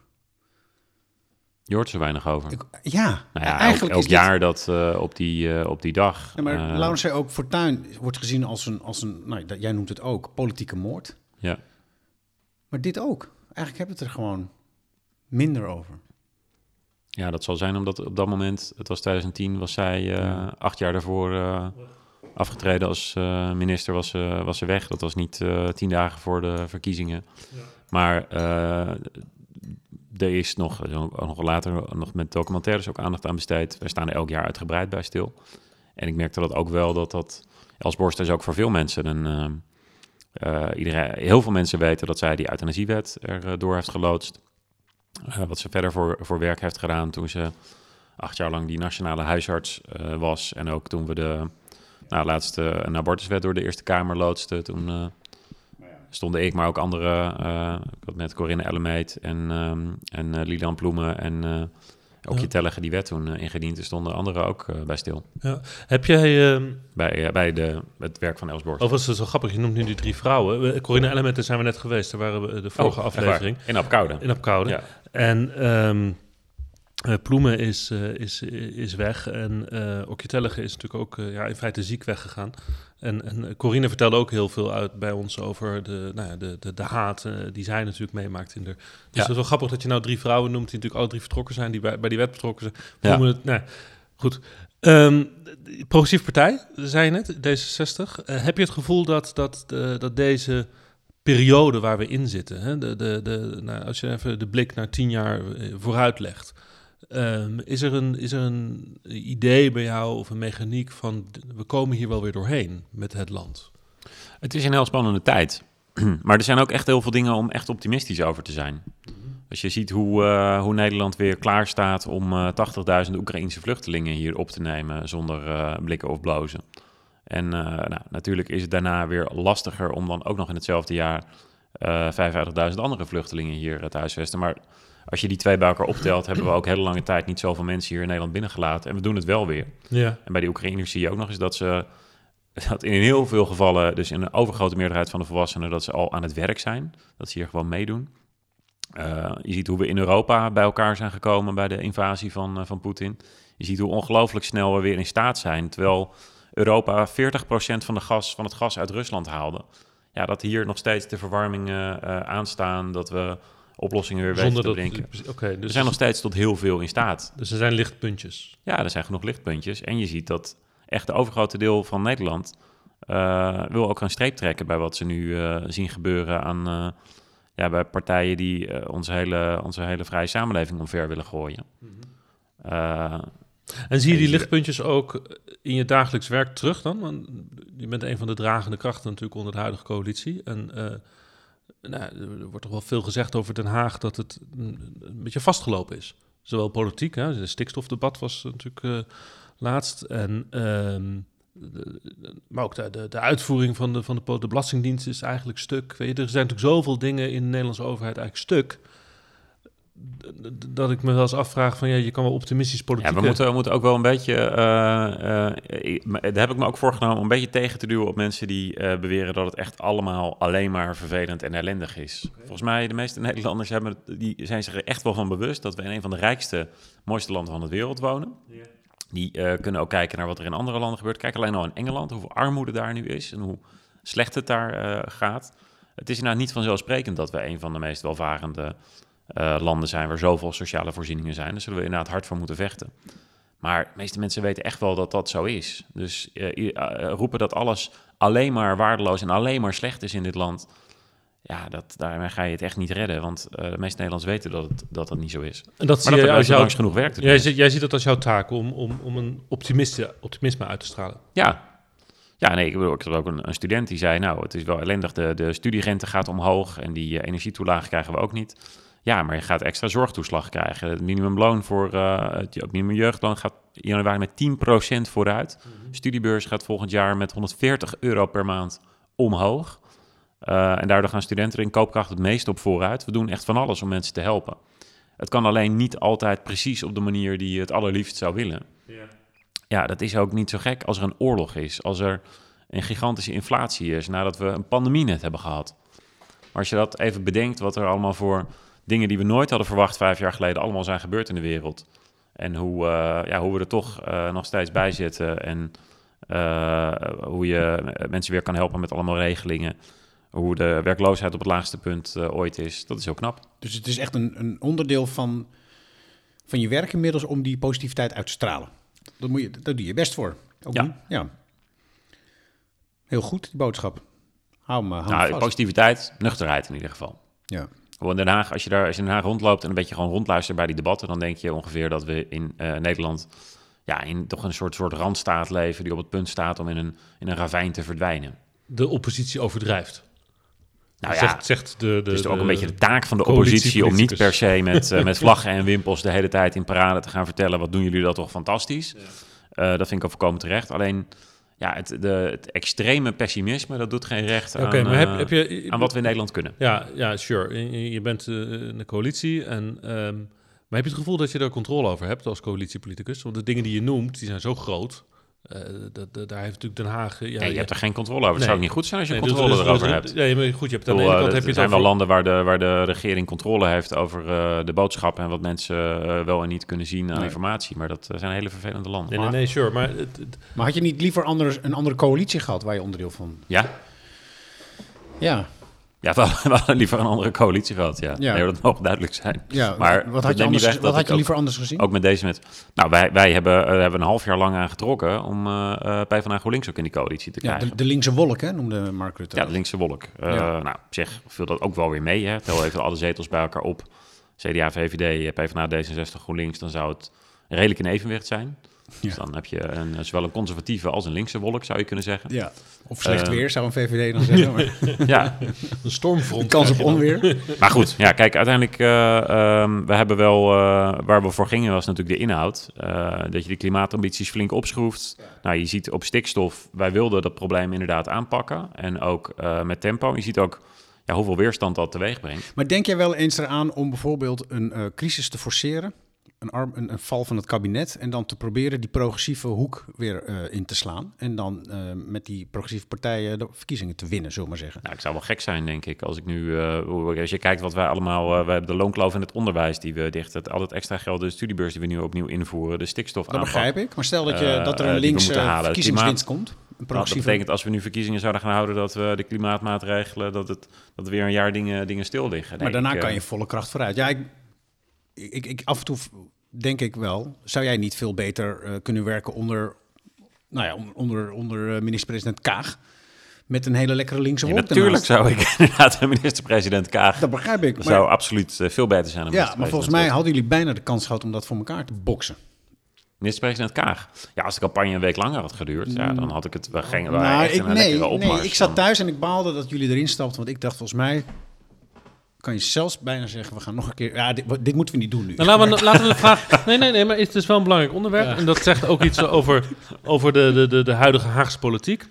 A: Je hoort zo weinig over.
D: Ik- ja,
A: nou ja,
D: eigenlijk
A: elk,
D: is
A: elk
D: dit-
A: jaar dat eh, op, die, eh, op die dag.
D: Nee, maar
A: eh,
D: Laurens zei ook, Fortuin wordt gezien als een, als een nou, dat- jij noemt het ook, politieke moord.
A: ja.
D: Maar dit ook. Eigenlijk hebben we het er gewoon minder over.
A: Ja, dat zal zijn omdat op dat moment, het was 2010, was zij eh, acht jaar daarvoor eh, afgetreden als eh, minister, was, ze- was ze weg. Dat was niet eh, tien dagen voor de verkiezingen. Maar eh, er is nog, er is ook nog later, nog met documentaires ook aandacht aan besteed. Wij staan er elk jaar uitgebreid bij stil. En ik merkte dat ook wel, dat dat, Els Borst is ook voor veel mensen een... eh, eh, iedereen, heel veel mensen weten dat zij die euthanasiewet er eh, door heeft geloodst. Eh, wat ze verder voor, voor werk heeft gedaan toen ze acht jaar lang die nationale huisarts eh, was. En ook toen we de nou, laatste een abortuswet door de Eerste Kamer loodsten. Toen eh, stonden ik, maar ook andere, eh, ik had met Corinne Ellemeet en, ehm en eh, Lilan Ploemen en eh ook je Tellige die wet toen eh, ingediend. Er stonden anderen ook eh, bij stil,
E: Heb jij... ehm,
A: bij, eh, bij de, het werk van Elsborg.
E: Overigens, dat is wel grappig. Je noemt nu die drie vrouwen. We- Corinne Element, daar zijn we net geweest. Daar waren we eh, de vorige aflevering.
A: In Apkoude.
E: In Apkoude.
A: Oh, Ja.
E: En ehm, eh, Ploemen is, eh, is, is weg. En eh Okjetellige is natuurlijk ook eh, ja, in feite ziek weggegaan. En, en eh, Corine vertelde ook heel veel uit bij ons over de, nou ja, de, de, de haat eh, die zij natuurlijk meemaakt. In de, dus
A: Ja.
E: het is wel grappig dat je nou drie vrouwen noemt die natuurlijk alle drie vertrokken zijn, die bij, bij die wet betrokken zijn. Ploemen, het, nou, goed. Ehm, de progressieve partij, zei je net, D66. Eh, heb je het gevoel dat, dat, eh, dat deze periode waar we in zitten. Hè? De, de, de, nou, als je even de blik naar tien jaar eh, vooruit legt. ehm, is, er een, is er een idee bij jou of een mechaniek van d- we komen hier wel weer doorheen met het land?
A: Het is een heel spannende tijd. [CLEARS THROAT] maar er zijn ook echt heel veel dingen om echt optimistisch over te zijn. Als je ziet hoe, eh, hoe Nederland weer klaar staat om eh 80.000 Oekraïnse vluchtelingen hier op te nemen zonder eh, blikken of blozen. En eh, nou, natuurlijk is het daarna weer lastiger om dan ook nog in hetzelfde jaar eh 55.000 andere vluchtelingen hier eh, het huisvesten. Maar als je die twee bij elkaar optelt, hebben we ook hele lange tijd niet zoveel mensen hier in Nederland binnengelaten. En we doen het wel weer.
E: Ja.
A: En bij die Oekraïners zie je ook nog eens dat ze dat in heel veel gevallen, dus in een overgrote meerderheid van de volwassenen, dat ze al aan het werk zijn. Dat ze hier gewoon meedoen. Eh, je ziet hoe we in Europa bij elkaar zijn gekomen bij de invasie van, eh, van Poetin. Je ziet hoe ongelooflijk snel we weer in staat zijn. Terwijl Europa 40% van, de gas, van het gas uit Rusland haalde. Ja, dat hier nog steeds de verwarmingen eh, aanstaan. Dat we oplossingen weer weten
E: Zonder
A: te
E: dat...
A: bedenken.
E: Oké,
A: We
E: dus,
A: zijn nog steeds tot heel veel in staat.
E: dus er zijn lichtpuntjes.
A: Ja, er zijn genoeg lichtpuntjes. En je ziet dat echt de overgrote deel van Nederland eh, wil ook een streep trekken bij wat ze nu eh, zien gebeuren aan eh, ja, bij partijen die eh, onze, hele, onze hele vrije samenleving omver willen gooien. Eh,
E: En zie je
A: En
E: die
A: je-
E: lichtpuntjes ook in je dagelijks werk terug dan? Want je bent een van de dragende krachten natuurlijk onder de huidige coalitie. En eh, nou, er wordt toch wel veel gezegd over Den Haag dat het een, een beetje vastgelopen is. Zowel politiek, hè, het stikstofdebat was natuurlijk eh, laatst. En, ehm, de- de- maar ook de, de, de uitvoering van de, van de, po- de Belastingdienst is eigenlijk stuk. Weet je, er zijn natuurlijk zoveel dingen in de Nederlandse overheid eigenlijk stuk... d- d- Dat ik me wel eens afvraag van ja, je kan wel optimistisch politiek
A: Ja, we moeten, we moeten ook wel een beetje. eh, eh, ik- maar daar heb ik me ook voorgenomen om een beetje tegen te duwen op mensen die eh, beweren dat het echt allemaal alleen maar vervelend en ellendig is. Volgens mij, de meeste Nederlanders hebben, het- die zijn zich er echt wel van bewust dat we in een van de rijkste, mooiste landen van de wereld wonen. Die eh, kunnen ook kijken naar wat er in andere landen gebeurt. Kijk alleen al in Engeland, hoeveel armoede daar nu is en hoe slecht het daar eh, gaat. Het is inderdaad niet vanzelfsprekend dat we een van de meest welvarende eh, landen zijn waar zoveel sociale voorzieningen zijn. Daar zullen we inderdaad hard voor moeten vechten. Maar de meeste mensen weten echt wel dat dat zo is. Dus eh, i- eh, roepen dat alles alleen maar waardeloos en alleen maar slecht is in dit land. Ja, dat, daarmee ga je het echt niet redden. Want eh, de meeste Nederlanders weten dat het, dat, dat niet zo is.
E: En dat
A: Maar
E: zie
A: dat
E: je
A: er
E: als jouw...
A: langs genoeg werk te doen.
E: Jij, ziet- jij ziet dat als jouw taak om, om, om een optimiste, optimisme uit te stralen.
A: Ja. Ja, nee, ik bedoel, ik had ook een, een student die zei, nou, het is wel ellendig, de, de studierente gaat omhoog en die eh, energietoelage krijgen we ook niet. Ja, maar je gaat extra zorgtoeslag krijgen. Het minimumloon voor eh, het, het minimumjeugdloon gaat in januari met 10% vooruit. Studiebeurs gaat volgend jaar met 140 euro per maand omhoog. Eh, en daardoor gaan studenten er in koopkracht het meest op vooruit. We doen echt van alles om mensen te helpen. Het kan alleen niet altijd precies op de manier die je het allerliefst zou willen ja, dat is ook niet zo gek als er een oorlog is. Als er een gigantische inflatie is nadat we een pandemie net hebben gehad. Maar als je dat even bedenkt, wat er allemaal voor dingen die we nooit hadden verwacht vijf jaar geleden allemaal zijn gebeurd in de wereld. En hoe, eh, ja, hoe we er toch eh, nog steeds bij zitten. En eh, hoe je mensen weer kan helpen met allemaal regelingen. Hoe de werkloosheid op het laagste punt eh, ooit is. Dat is heel knap.
D: Dus het is echt een, een onderdeel van, van je werk inmiddels om die positiviteit uit te stralen. Dat, moet je, dat doe je best voor. Ook
A: Ja.
D: nu? ja. Heel goed, die boodschap. Hou me, hou me
A: Nou,
D: vast.
A: positiviteit, nuchterheid in ieder geval.
D: Ja.
A: Gewoon in Den Haag, als je, daar, als je in Den Haag rondloopt en een beetje gewoon rondluistert bij die debatten, dan denk je ongeveer dat we in eh, Nederland ja, in toch een soort, soort randstaat leven die op het punt staat om in een, in een ravijn te verdwijnen.
E: De oppositie overdrijft.
A: Nou ja,
E: zegt, zegt de, de,
A: het is toch ook
E: de-
A: een beetje de taak van de oppositie om niet per se met, eh,
E: [LAUGHS]
A: met vlaggen en wimpels de hele tijd in parade te gaan vertellen, wat doen jullie dat toch fantastisch. Eh, dat vind ik al voorkomen terecht. Alleen ja, het, de, het extreme pessimisme, dat doet geen recht
E: Oké,
A: aan,
E: maar heb,
A: eh,
E: heb je...
A: aan wat we in Nederland kunnen.
E: Ja, ja sure. Je- Je, je bent eh, in de coalitie en... ehm, maar heb je het gevoel dat je daar controle over hebt als coalitiepoliticus? Want de dingen die je noemt, die zijn zo groot. eh, dat, dat- daar heeft natuurlijk Den Haag... eh, Ja,
A: Nee, je hebt er geen controle over. Het
E: Nee.
A: zou ook niet goed zijn als je
E: nee, dus-
A: controle
E: dus-
A: erover
E: dus-
A: hebt.
E: Nee, maar goed, je hebt
A: Ik
E: aan
A: bedoel,
E: de ene
A: eh,
E: kant...
A: dat-
E: heb je
A: er
E: het
A: zijn wel
E: over-
A: landen waar de, waar de regering controle heeft over eh, de boodschap en wat mensen eh, wel en niet kunnen zien aan
D: Nee.
A: informatie. Maar dat eh, zijn hele vervelende landen.
E: Nee, nee, nee, sure. Maar het, het-
D: Maar had je niet liever anders, een andere coalitie gehad waar je onderdeel van...
A: Ja,
D: Ja,
A: ja we, hadden, we [LAUGHS] hadden liever een andere coalitie gehad. Ja.
D: Ja.
A: Nee, dat mag duidelijk zijn.
D: ja.
A: Maar
D: wat
A: dat
D: had
A: neemt
D: je,
A: niet
D: anders,
A: weg
D: wat
A: dat
D: had
A: ik
D: je
A: ook-
D: liever anders gezien?
A: Ook met deze met. Nou, wij, wij hebben, eh, hebben een half jaar lang aan getrokken om eh eh PvdA GroenLinks ook in die coalitie te
D: ja,
A: krijgen.
D: de, de linkse wolk, hè, noemde Mark Rutte.
A: Ja, de linkse wolk. Eh,
D: Ja.
A: Nou, op zich viel dat ook wel weer mee. Hè. Tel even alle zetels bij elkaar op. CDA, VVD, PvdA, D66, GroenLinks. Dan zou het redelijk in evenwicht zijn. Dus dan heb je een, eh, zowel een conservatieve als een linkse wolk, zou je kunnen zeggen.
D: Ja. Of
A: Eh,
D: slecht weer, zou een VVD dan zeggen. Maar
A: [LAUGHS] Ja,
E: een stormfront.
D: de kans op
E: krijg je dan.
A: [LAUGHS]
D: onweer.
A: maar goed. Ja, kijk, uiteindelijk, eh, ehm, we hebben wel, eh, waar we voor gingen was natuurlijk de inhoud. Eh, dat je de klimaatambities flink opschroeft. Nou, je ziet op stikstof, wij wilden dat probleem inderdaad aanpakken. En ook eh, met tempo. Je ziet ook ja, hoeveel weerstand dat teweeg brengt.
D: Maar denk jij wel eens eraan om bijvoorbeeld een eh, crisis te forceren? Een, arm, een, een val van het kabinet en dan te proberen die progressieve hoek weer eh, in te slaan. En dan eh, met die progressieve partijen de verkiezingen te winnen, zullen we maar zeggen.
A: Nou, ik zou wel gek zijn, denk ik. Als ik nu, eh, hoe- als je kijkt wat wij allemaal, eh, we hebben de loonkloof in het onderwijs die we dichten, het- al het extra geld, de studiebeurs die we nu opnieuw invoeren, de stikstof.
D: Dat begrijp ik. Maar stel dat, je,
A: Ah, eh,
D: dat er
A: eh,
D: een
A: die we
D: linkse
A: moeten halen.
D: verkiezingswinst komt.
A: Dat
D: progressieve...
A: betekent als we nu verkiezingen zouden gaan houden dat we de klimaatmaatregelen, dat het dat weer een jaar dingen, dingen stil liggen.
D: maar
A: Nee,
D: daarna
A: ik, eh,
D: kan je volle kracht vooruit. Ja, ik, ik, ik, af en toe v- denk ik wel. Zou jij niet veel beter eh, kunnen werken onder, nou ja, onder, onder, onder eh, minister-president Kaag? Met een hele lekkere linkse
A: nee,
D: wolk
A: natuurlijk
D: ernaast?
A: zou ik [LAUGHS] inderdaad minister-president Kaag.
D: Dat begrijp ik.
A: Dat
D: maar-
A: zou absoluut eh, veel beter zijn dan
D: ja, maar
A: minister-president
D: volgens mij
A: Rutte.
D: hadden jullie bijna de kans gehad om dat voor elkaar te boksen.
A: Minister-president Kaag. Ja, als de campagne een week langer had geduurd, ja, dan had ik het. We gingen wel
D: Mm. Nou,
A: echt in
D: ik,
A: een
D: nee,
A: lekkere opmars.
D: nee, ik zat
A: Dan-
D: thuis en ik baalde dat jullie erin stapten. Want ik dacht, volgens mij kan je zelfs bijna zeggen, we gaan nog een keer... Ja, dit, dit moeten we niet doen nu.
E: Nou, laten, we, laten we de vraag. Nee, nee, nee, maar het is wel een belangrijk onderwerp. En dat zegt ook iets over, over de, de, de, de huidige Haagse politiek.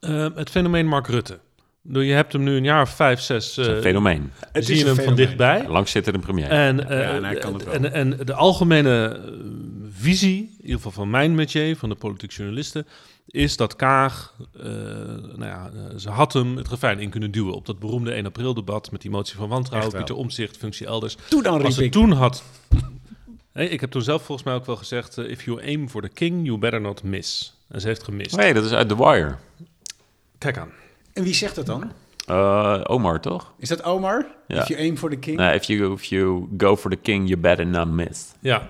E: Eh, het fenomeen Mark Rutte. Nou, Je hebt hem nu een jaar of vijf, zes. eh
A: Het is een fenomeen.
E: zie je hem van dichtbij.
A: Langs zit er een premier.
E: En,
D: ja,
E: eh,
D: nou, kan het wel.
E: en, en de algemene eh, visie, in ieder geval van mijn métier, van de politiek journalisten, is dat Kaag, eh, nou ja, eh, ze had hem het refijn in kunnen duwen op dat beroemde 1 april debat met die motie van wantrouwen,
D: Echt wel.
E: Pieter Omzicht, functie elders.
D: Toen dan, riep
E: Als ze
D: ik.
E: toen had... Hé, ik heb toen zelf volgens mij ook wel gezegd, eh, if you aim for the king, you better not miss. En ze heeft
D: Oh
E: gemist.
A: Nee, dat is uit The Wire.
E: Kijk aan.
D: En wie zegt dat dan?
A: Eh, Omar, toch?
D: Is dat Omar?
A: Ja.
D: If you aim for the king?
A: Nee, if you, if you go for the king, you better not miss.
E: Ja.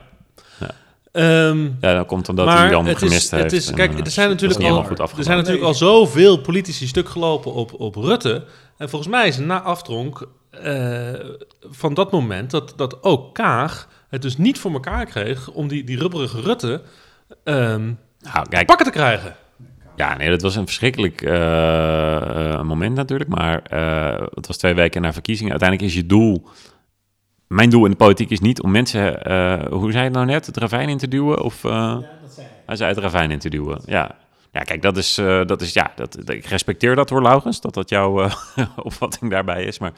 E: Ehm,
A: Ja, dan komt omdat
E: maar
A: hij dan
E: het
A: gemist
E: is,
A: heeft.
E: Het is,
A: en,
E: kijk,
A: eh,
E: er
A: dat
E: zijn
A: is
E: natuurlijk,
A: niet
E: al,
A: helemaal goed
E: er zijn
A: afgelopen.
E: natuurlijk al zoveel politici stuk gelopen op, op Rutte. En volgens mij is het na aftronk eh, van dat moment dat, dat ook Kaag het dus niet voor elkaar kreeg om die, die rubberige Rutte ehm
A: Nou, kijk,
E: pakken te krijgen.
A: Ja, nee, dat was een verschrikkelijk eh, eh, moment natuurlijk. Maar eh, het was twee weken na verkiezingen. Uiteindelijk is je doel. Mijn doel in de politiek is niet om mensen, eh, hoe zei je het nou net, het ravijn in te duwen? Of, eh, hij zei het ravijn in te duwen. Ja, ja kijk, dat is, eh, dat is ja, dat, dat- ik respecteer dat hoor, Laugens, dat dat jouw eh, [LAUGHS] opvatting daarbij is. Maar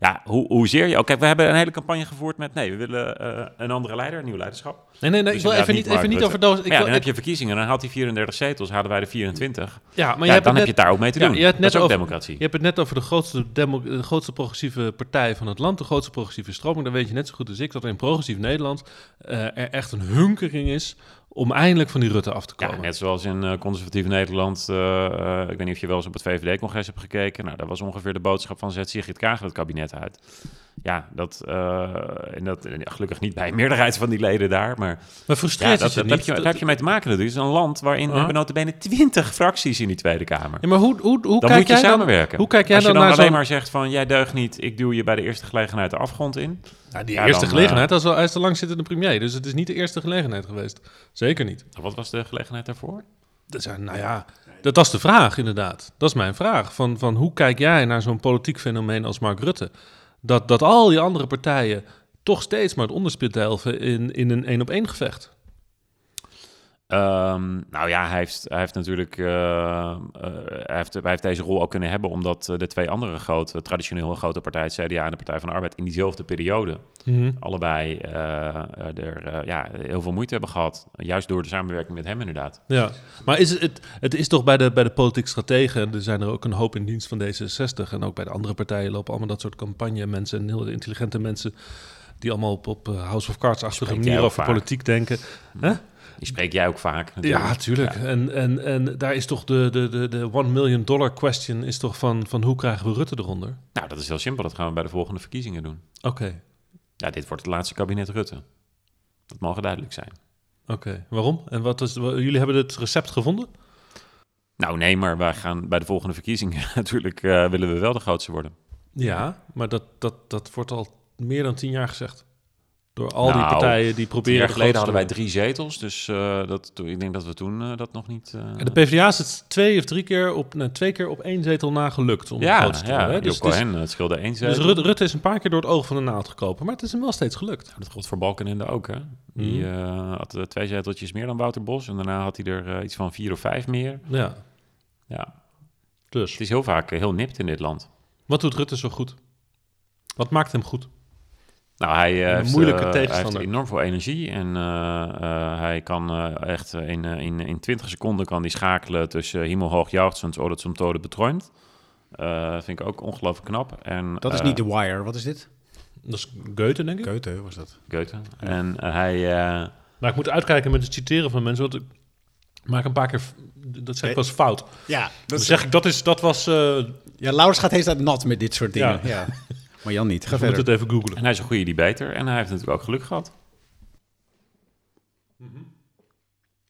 A: ja, hoe, hoezeer je ook. Kijk, we hebben een hele campagne gevoerd met, nee, we willen eh, een andere leider, een nieuw leiderschap.
E: Nee, nee,
A: Dus
E: nee, Eh, ik wil
A: inderdaad
E: even niet, even
A: Mark
E: niet
A: Rutte.
E: over doos. Ik
A: Maar ja,
E: wil-
A: dan heb
E: ik-
A: je verkiezingen, dan haalt hij 34 zetels, hadden wij de 24.
E: ja, maar je
A: ja,
E: hebt
A: dan
E: het
A: heb je het daar ook mee te
E: ja,
A: doen.
E: je hebt
A: dat is
E: net
A: ook
E: over-
A: democratie.
E: Je hebt het net over de grootste, demo- de grootste progressieve partij van het land, de grootste progressieve stroming. Dan weet je net zo goed als ik dat er in progressief Nederland eh, er echt een hunkering is om eindelijk van die Rutte af te komen.
A: Ja, net zoals in eh, conservatief Nederland. eh, eh, ik weet niet of je wel eens op het VVD-congres hebt gekeken. Nou, daar was ongeveer de boodschap van zet Sigrid Kaag het kabinet uit. Ja, dat, eh, en dat eh, gelukkig niet bij een meerderheid van die leden daar. Maar
E: maar
A: ja, dat,
E: frustreert het je
A: dat
E: niet?
A: heb je, daar heb je mee te maken natuurlijk. Het is een land waarin
E: Uh-huh.
A: uh bene 20 fracties in die Tweede Kamer.
E: Ja, maar hoe, hoe,
A: Dan
E: hoe kijk
A: moet je
E: jij
A: samenwerken.
E: Dan, hoe kijk jij
A: Als je
E: dan,
A: dan,
E: naar
A: alleen
E: zo'n...
A: maar zegt van jij deugt niet, ik duw je bij de eerste gelegenheid de afgrond in.
E: Nou, die
A: Ja,
E: eerste
A: dan, eh,
E: gelegenheid, dat is wel, hij is de langzittende premier, dus het is niet de eerste gelegenheid geweest. Zeker niet.
A: Nou, Wat was de gelegenheid daarvoor?
E: Dat zijn, nou ja, dat, dat is de vraag inderdaad. Dat is mijn vraag. Van, van hoe kijk jij naar zo'n politiek fenomeen als Mark Rutte? Dat, dat al die andere partijen toch steeds maar het onderspit delven in, in een één-op-één gevecht.
A: Ehm, nou ja, hij heeft, hij heeft natuurlijk eh, eh, hij heeft, hij heeft deze rol ook kunnen hebben omdat eh, de twee andere grote, traditioneel heel grote partijen, het CDA en de Partij van de Arbeid, in diezelfde periode allebei eh, eh, er eh, ja, heel veel moeite hebben gehad. Juist door de samenwerking met hem inderdaad.
E: Ja, maar is het- het, het is toch bij de, bij de politiek strategen, en er zijn er ook een hoop in dienst van D66 en ook bij de andere partijen lopen allemaal dat soort campagne mensen en heel intelligente mensen die allemaal op, op eh, House of Cards-achtige
A: Spreek jij
E: manier
A: ook
E: over
A: vaak.
E: politiek denken.
A: Die spreek jij ook vaak. natuurlijk.
E: Ja, tuurlijk. En, en, en daar is toch de, de, de, de one million dollar question is toch van, van hoe krijgen we Rutte eronder?
A: Nou, dat is heel simpel. Dat gaan we bij de volgende verkiezingen doen.
E: Oké,
A: Ja, dit wordt het laatste kabinet Rutte. Dat mag duidelijk zijn.
E: oké. Waarom? En wat is, wa- jullie hebben het recept gevonden?
A: Nou nee, maar wij gaan bij de volgende verkiezingen [LAUGHS] natuurlijk eh, willen we wel de grootste worden.
E: Ja, maar dat, dat, dat wordt al meer dan tien jaar gezegd. Door al die
A: Nou,
E: partijen die
A: Tien
E: proberen...
A: jaar
E: de
A: geleden
E: grootste
A: hadden wij drie zetels, dus eh, dat, toen- ik denk dat we toen eh, dat nog niet... eh,
E: En de PvdA is het twee of drie keer op, nee, twee keer op één zetel na gelukt om
A: ja,
E: groot te worden.
A: ja,
E: hè?
A: Job
E: Dus, het is-
A: Cohen, eh, het scheelde één
E: dus
A: zetel.
E: Rut- Rutte is een paar keer door het oog van de naald gekropen, maar het is hem wel steeds gelukt.
A: Dat geldt voor Balkenende ook, hè? Die
E: Mhm.
A: eh, had eh, twee zeteltjes meer dan Wouter Bos en daarna had hij er eh, iets van vier of vijf meer.
E: Ja,
A: Ja,
E: dus.
A: het is heel vaak eh, heel nipt in dit land.
E: Wat doet Rutte zo goed? Wat maakt hem goed?
A: Nou, hij, eh,
E: Een
A: heeft,
E: moeilijke
A: eh, hij heeft
E: tegenstander.
A: enorm veel energie en eh, eh, hij kan eh, echt eh, in, eh, in, in 20 seconden kan die schakelen tussen uh, hemelhoog jauchzend, oh dat zum tode beträumt. Eh, dat vind ik ook ongelooflijk knap. En,
D: Dat is
A: eh,
D: niet The Wire. Wat is dit?
E: Dat is Goethe, denk ik.
D: Keute was dat.
A: Goethe. En eh, hij... eh,
E: Maar ik moet uitkijken met het citeren van mensen, want ik- Maak een paar keer. f- Dat zeg ik was fout.
D: Ja,
E: Dan zeg ik, dat, is, dat was. eh
D: ja Laurens gaat heet dat nat met dit soort dingen. Ja.
E: Ja.
D: [LAUGHS] Maar Jan niet. Ga
E: ik moet
D: verder.
E: het even googlen.
A: En hij is een goede debater en hij heeft natuurlijk ook geluk gehad.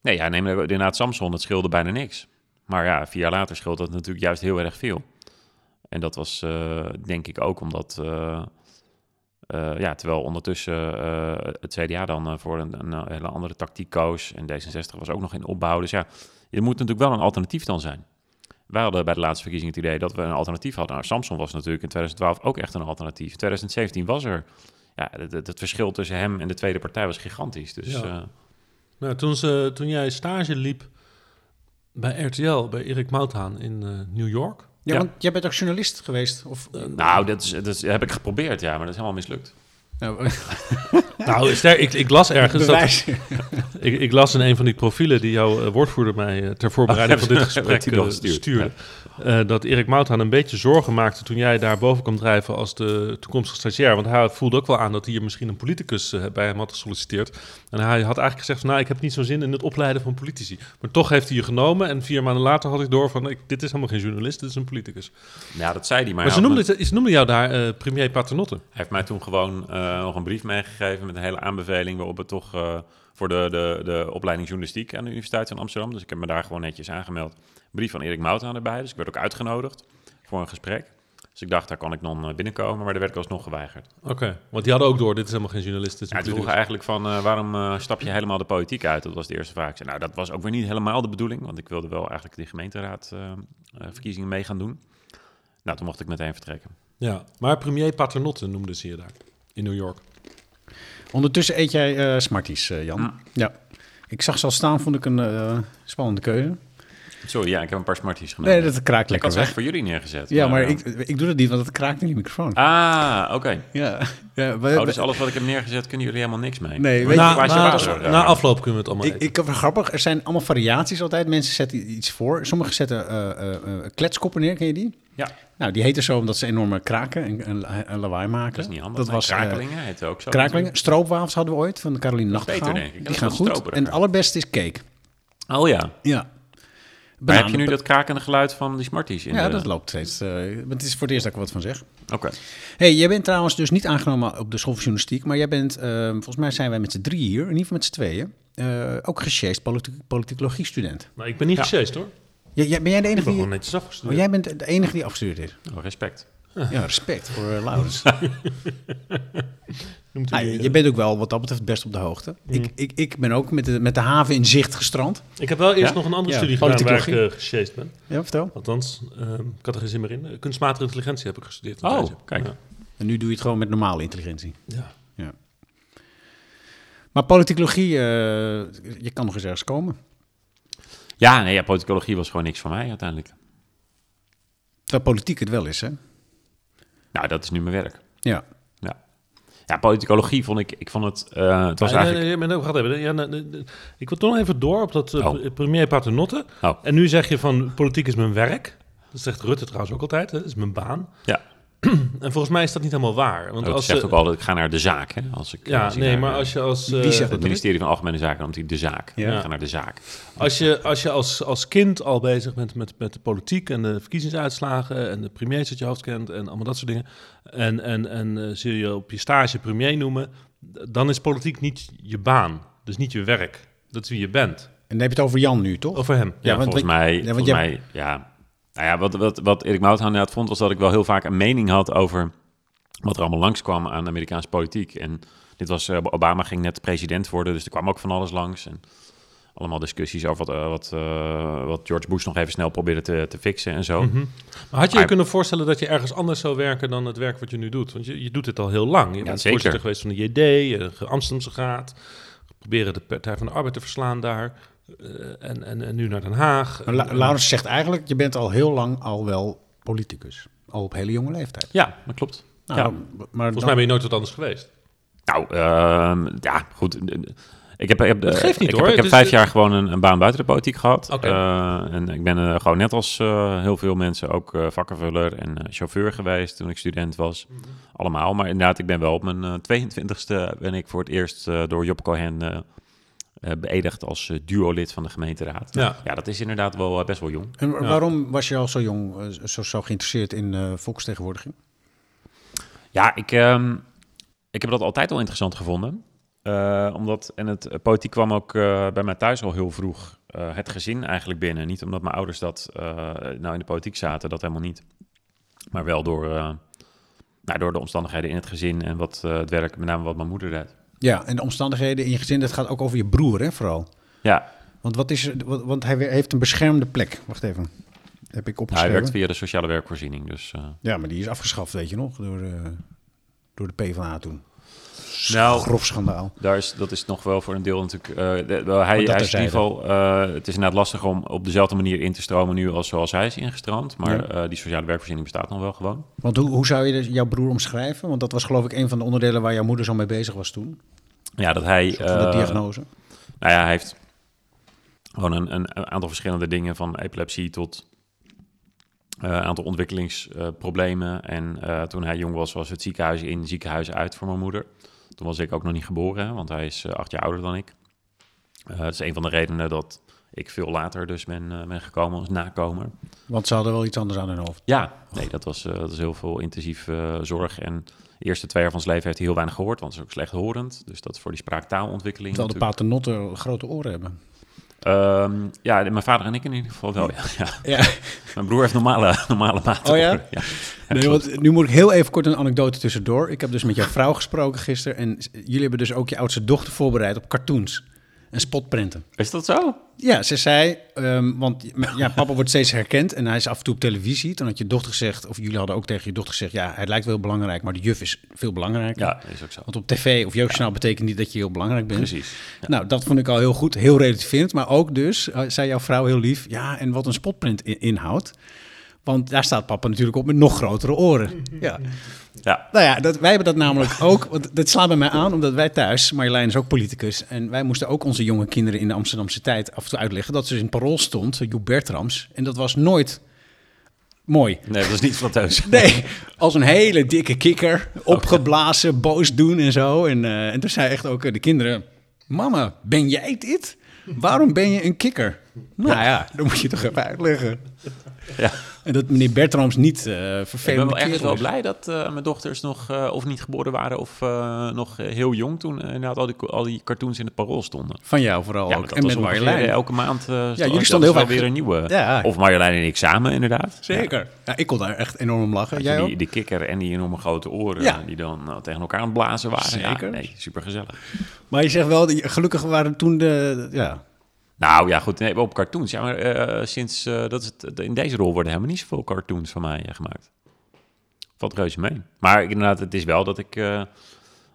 A: Nee, ja, neem inderdaad Samson, dat scheelde bijna niks. Maar ja, vier jaar later scheelt dat natuurlijk juist heel erg veel. En dat was eh, denk ik ook omdat, eh, eh, ja, terwijl ondertussen eh, het CDA dan eh, voor een, een hele andere tactiek koos en D66 was ook nog in opbouw. Dus ja, je moet natuurlijk wel een alternatief dan zijn. Wij hadden bij de laatste verkiezingen het idee dat we een alternatief hadden. Nou, Samson was natuurlijk in 2012 ook echt een alternatief. In 2017 was er. Ja, het, het- het verschil tussen hem en de tweede partij was gigantisch. Dus
E: Ja.
A: eh,
E: Nou, toen, ze, toen jij stage liep bij RTL, bij Erik Mouthaan in eh, New York.
D: Ja,
A: ja.
D: want jij bent ook journalist geweest. Of, eh,
A: nou, dat, is, dat is- heb ik geprobeerd, ja, maar dat is helemaal mislukt.
D: [LAUGHS] nou,
E: Nou, is daar- ik, ik las ergens. Dat,
D: bewijs.
E: ik, ik las in een van die profielen die jouw eh, woordvoerder mij eh, ter
A: [LAUGHS]
E: voorbereiding van dit
A: hebben ze-
E: gesprek
A: heeft hij nog
E: eh,
A: gestuurd,
E: stuurde. eh, dat Erik Mouthaan een beetje zorgen maakte toen jij daar boven kwam drijven als de toekomstige stagiair. Want hij voelde ook wel aan dat hier misschien een politicus eh, bij hem had gesolliciteerd. En hij had eigenlijk gezegd van, nou, ik heb niet zo'n zin in het opleiden van politici. Maar toch heeft hij je genomen en vier maanden later had ik door van, ik, dit is helemaal geen journalist, dit is een politicus.
A: Nou, dat zei hij, maar,
E: Maar ze
A: hij had me-
E: noemden, het- ze noemden jou daar eh, premier Paternotte.
A: Hij heeft mij toen gewoon eh, nog een brief meegegeven met een hele aanbeveling waarop het toch eh, voor de, de, de opleiding journalistiek aan de Universiteit van Amsterdam. Dus ik heb me daar gewoon netjes aangemeld. Brief van Erik Mouthaan erbij. Dus ik werd ook uitgenodigd voor een gesprek. Dus ik dacht, daar kan ik dan eh, binnenkomen, maar daar werd ik alsnog geweigerd.
E: Oké, want die hadden ook door, dit is helemaal geen journalist, dit is
A: Ja,
E: een
A: ik vroeg
E: politicus.
A: eigenlijk van, eh, waarom eh, stap je helemaal de politiek uit? Dat was de eerste vraag. Ik zei, nou, dat was ook weer niet helemaal de bedoeling, want ik wilde wel eigenlijk die gemeenteraadverkiezingen eh, mee gaan doen. Nou, toen mocht ik meteen vertrekken.
E: Ja, maar premier Paternotte noemden ze je daar in New York.
D: Ondertussen eet jij eh, Smarties, eh, Jan. Ja. Ik zag ze al staan, vond ik een eh, spannende keuze.
A: Sorry, ja, ik heb een paar smarties genomen.
D: Nee, dat kraakt
A: ik had
D: lekker
A: ze
D: weg.
A: eigenlijk voor jullie neergezet.
D: Ja, maar
A: eh,
D: ik, ik doe dat niet, want het kraakt in die microfoon.
A: Ah, oké.
D: Ja. ja Eh, we-
A: Oh, dus alles wat ik heb neergezet, kunnen jullie helemaal niks mee.
D: Nee,
A: Maar
D: weet
A: een
E: Na,
D: je-
A: glaasje
E: na-
A: water,
E: na
A: ja.
E: afloop kunnen we het allemaal
D: Ik, ik heb grappig, er zijn allemaal variaties altijd. Mensen zetten iets voor. Sommigen zetten eh, eh, eh, kletskoppen neer, ken je die?
A: Ja,
D: Nou, die heten zo omdat ze enorme kraken en, en, en lawaai maken.
A: dat is niet handig.
D: was eh,
A: krakelingen, heet ook zo.
D: krakelingen. Stroopwafels hadden we ooit van de Caroline Nachtegaal.
A: beter, denk ik. Dat
D: Die
A: is
D: gaan
A: wel
D: goed.
A: stroperiger.
D: En het allerbeste is cake.
A: Oh ja.
D: Ja.
A: Maar heb je nu
D: Bananenpa-
A: dat krakende geluid van die Smarties? In
D: Ja,
A: de-
D: dat loopt steeds. eh, maar het is voor het eerst dat ik er wat van zeg.
A: Oké.
D: hey, jij bent trouwens dus niet aangenomen op de school van journalistiek, maar jij bent, eh, volgens mij zijn wij met z'n drie hier, in ieder geval met z'n tweeën, eh, ook gesjeest politicologie student.
E: Maar ik ben niet gesjeest hoor.
D: jij ben jij de enige
E: Ik ben
D: die...
E: gewoon netjes
D: Oh,
E: afgestudeerd.
D: jij bent de enige die afgestudeerd is.
A: Oh, respect.
D: Ja, respect voor eh, Laurens.
E: [LAUGHS] Noemt u
D: Ah,
E: die,
D: je
E: eh,
D: je bent ook wel wat dat betreft best op de hoogte. Ik, ik, ik ben ook met de, met de haven in zicht gestrand.
E: Ik heb wel eerst
A: Ja?
E: nog een andere
D: Ja,
E: studie gedaan waar ik
D: politicologie.
E: eh gesjeest ben.
D: Ja, vertel.
E: Althans, ehm, ik had er geen zin meer in. Eh, Kunstmatige intelligentie heb ik gestudeerd. een
A: Oh,
E: tijdje.
A: kijk.
E: Ja.
D: En nu doe je het gewoon met normale intelligentie.
E: Ja.
D: Ja. Maar politicologie, eh, je kan nog eens ergens komen.
A: Ja, nee, ja, politicologie was gewoon niks voor mij uiteindelijk.
D: Terwijl politiek het wel is, hè?
A: Nou, dat is nu mijn werk.
D: Ja.
A: Ja. Ja, politicologie vond ik, ik vond het, eh, het was
E: Ah, Nee,
A: eigenlijk...
E: nee, nee, maar nou, wacht even. Ja, nee, nee, nee. ik wil toch nog even door op dat eh,
A: Oh.
E: premier Paternotte.
A: Oh.
E: En nu zeg je van politiek is mijn werk. Dat zegt Rutte trouwens ook altijd. hè, Dat is mijn baan.
A: Ja,
E: En volgens mij is Oh, dat niet helemaal waar. Want
A: dat
E: als
A: zegt
E: ze-
A: ook altijd, ik ga naar de zaak, hè. Als ik,
E: Ja,
A: als ik
E: nee,
A: naar,
E: maar
A: eh,
E: als je als...
D: Wie
E: eh,
D: zegt
A: Het ministerie van Algemene Zaken noemt hij de zaak.
D: Ja.
A: Ik ga naar de zaak.
E: Als je, als, je als, als kind al bezig bent met, met de politiek en de verkiezingsuitslagen en de premiers uit je hoofd kent en allemaal dat soort dingen. En, en, en eh, zul je op je stage premier noemen, d- dan is politiek niet je baan. Dus niet je werk. Dat is wie je bent.
D: En dan heb je het over Jan nu, toch?
E: Over hem.
A: Ja,
D: Ja, want
A: volgens
D: wat-
A: mij,
D: ja, want
A: volgens
D: jij-
A: mij, ja. Nou ja, wat, wat, wat Erik Mouthaan inderdaad vond, was dat ik wel heel vaak een mening had over wat er allemaal langskwam aan Amerikaanse politiek. En dit was, eh, Obama ging net president worden, dus er kwam ook van alles langs. En allemaal discussies over wat, eh, wat, eh, wat George Bush nog even snel probeerde te, te fixen en zo.
D: Mhm.
E: Maar had je je
A: Maar-
E: kunnen voorstellen dat je ergens anders zou werken dan het werk wat je nu doet? Want je, je doet dit al heel lang. Je bent
A: zeker.
E: voorzitter geweest van de JD, de Amsterdamse Raad. Proberen de Partij van de Arbeid te verslaan daar. eh, en, en, en nu naar Den Haag.
D: Maar La- Laurens zegt eigenlijk, je bent al heel lang al wel politicus. Al op hele jonge leeftijd.
A: Ja, dat klopt.
D: Nou,
A: ja.
D: maar
E: Volgens
D: dan-
E: mij ben je nooit wat anders geweest.
A: Nou, ehm, ja, goed. Ik heb, ik heb,
E: Dat geeft niet,
A: ik
E: hoor.
A: heb, ik heb
E: Het is-
A: vijf jaar gewoon een, een baan buiten de politiek gehad.
E: Oké.
A: Eh, en ik ben eh, gewoon net als eh, heel veel mensen ook eh, vakkenvuller en eh, chauffeur geweest toen ik student was.
E: Mhm.
A: Allemaal. Maar inderdaad, ik ben wel op mijn eh, 22e ben ik voor het eerst eh, door Job Cohen eh, eh, beëdigd als eh, duo-lid van de gemeenteraad.
E: Ja.
A: dat is inderdaad wel eh, best wel jong.
D: En wa- waarom was je al zo jong, eh, zo, zo geïnteresseerd in eh, volksvertegenwoordiging?
A: Ja, ik, ehm, ik heb dat altijd al interessant gevonden. Eh, omdat, en het eh, politiek kwam ook eh, bij mij thuis al heel vroeg eh, het gezin eigenlijk binnen. Niet omdat mijn ouders dat eh, nou in de politiek zaten, dat helemaal niet. Maar wel door, eh, nou, door de omstandigheden in het gezin en wat eh, het werk, met name wat mijn moeder deed.
D: Ja, en de omstandigheden in je gezin, dat gaat ook over je broer, hè, vooral.
A: Ja,
D: Want, wat is, er- wa- want hij we- heeft een beschermde plek. Wacht even, heb ik
A: hij
D: opgeschreven.
A: werkt via de sociale werkvoorziening. Dus, eh,
D: Ja, maar die is afgeschaft, weet je nog, door, eh door de PvdA toen.
A: Nou.
D: Grof schandaal.
A: Daar is, dat is nog wel voor een deel natuurlijk. eh, de- wel, hij,
D: dat
A: hij is in
D: terzijde.
A: ieder geval. eh, het is inderdaad lastig om op dezelfde manier in te stromen nu als zoals hij is ingestroomd. Maar
D: Ja.
A: eh, die sociale werkvoorziening bestaat nog wel gewoon.
D: Want hoe, hoe zou je dus jouw broer omschrijven? Want dat was geloof ik een van de onderdelen waar jouw moeder zo mee bezig was toen.
A: Ja, dat hij.
D: Een soort van de
A: eh,
D: diagnose.
A: Nou ja, hij heeft gewoon een, een een aantal verschillende dingen van epilepsie tot eh, een aantal ontwikkelingsproblemen. en eh, toen hij jong was, was het ziekenhuis in, ziekenhuis uit voor mijn moeder. Toen was ik ook nog niet geboren, hè, want hij is eh, acht jaar ouder dan ik. Eh, dat is een van de redenen dat ik veel later dus ben, eh, ben gekomen als nakomer.
D: Want ze hadden wel iets anders aan hun hoofd.
A: Ja, nee, dat was, eh, dat was heel veel intensief eh, zorg. En de eerste twee jaar van zijn leven heeft hij heel weinig gehoord, want hij is ook slechthorend. Dus dat is voor die spraaktaalontwikkeling.
D: Terwijl de
A: natuurlijk-
D: paternotten grote oren hebben.
A: Ehm, ja, mijn vader en ik in ieder geval wel. Ja, ja.
D: Ja.
A: Mijn broer heeft normale, [LAUGHS] normale maten.
D: Oh ja?
A: ja.
D: Nee, want nu moet ik heel even kort een anekdote tussendoor. Ik heb dus met jouw vrouw gesproken gisteren. En s- jullie hebben dus ook je oudste dochter voorbereid op cartoons en spotprenten.
A: Is dat zo?
D: Ja, ze zei, ehm, want ja, papa wordt steeds herkend en hij is af en toe op televisie. Toen had je dochter gezegd, of jullie hadden ook tegen je dochter gezegd, ja, hij lijkt wel heel belangrijk, maar de juf is veel belangrijker.
A: Ja, is ook zo.
D: Want op tv of jeugdjournaal betekent niet dat je heel belangrijk bent.
A: Precies.
D: Nou, dat vond ik al heel goed, heel relativerend. Maar ook dus, eh, zei jouw vrouw heel lief, ja, en wat een spotprint in- inhoudt. Want daar staat papa natuurlijk op met nog grotere oren. Ja.
A: Ja.
D: Nou ja, dat, wij hebben dat namelijk ook. Want dat slaat bij mij aan, omdat wij thuis, Marjolein is ook politicus. En wij moesten ook onze jonge kinderen in de Amsterdamse tijd af en toe uitleggen dat ze dus in het parool stond, Joep Bertrams. En dat was nooit mooi.
A: Nee, dat is niet
D: [LAUGHS]
A: flatteus.
D: Nee, als een hele dikke kikker, opgeblazen, boos doen en zo. En, eh, en toen zei echt ook eh, de kinderen, mama, ben jij dit? Waarom ben je een kikker? Nou ja, dan moet je toch even uitleggen.
A: Ja.
D: En dat meneer Bertrams niet eh
A: Ik ben
D: vervelend
A: wel echt wel blij dat eh, mijn dochters nog eh, of niet geboren waren of eh, nog eh, heel jong toen eh, inderdaad al die, al die cartoons in het parool stonden.
D: Van jou vooral
A: Ja, maar
D: ook.
A: dat
D: En
A: was
D: met
A: ongeveer
D: Marjolein.
A: elke maand. eh, stond-
D: jullie
A: dat
D: stonden
A: is
D: heel
A: wel
D: vaak-
A: weer een nieuwe.
D: Ja.
A: Of Marjolein en ik samen inderdaad.
D: Zeker. Ja, ik kon daar echt enorm om lachen.
A: Dat
D: Jij
A: je
D: ook?
A: die, die kikker en die enorme grote oren
D: Ja.
A: die dan eh, tegen elkaar aan het blazen waren.
D: Zeker.
A: Ja, nee, supergezellig.
D: Maar je zegt wel, die- gelukkig waren toen de... Ja.
A: Nou ja, goed, nee, op cartoons. Ja, maar eh, sinds eh, dat is het, in deze rol worden helemaal niet zoveel cartoons van mij eh, gemaakt. Valt reuze mee. Maar ik- inderdaad, het is wel dat ik, eh,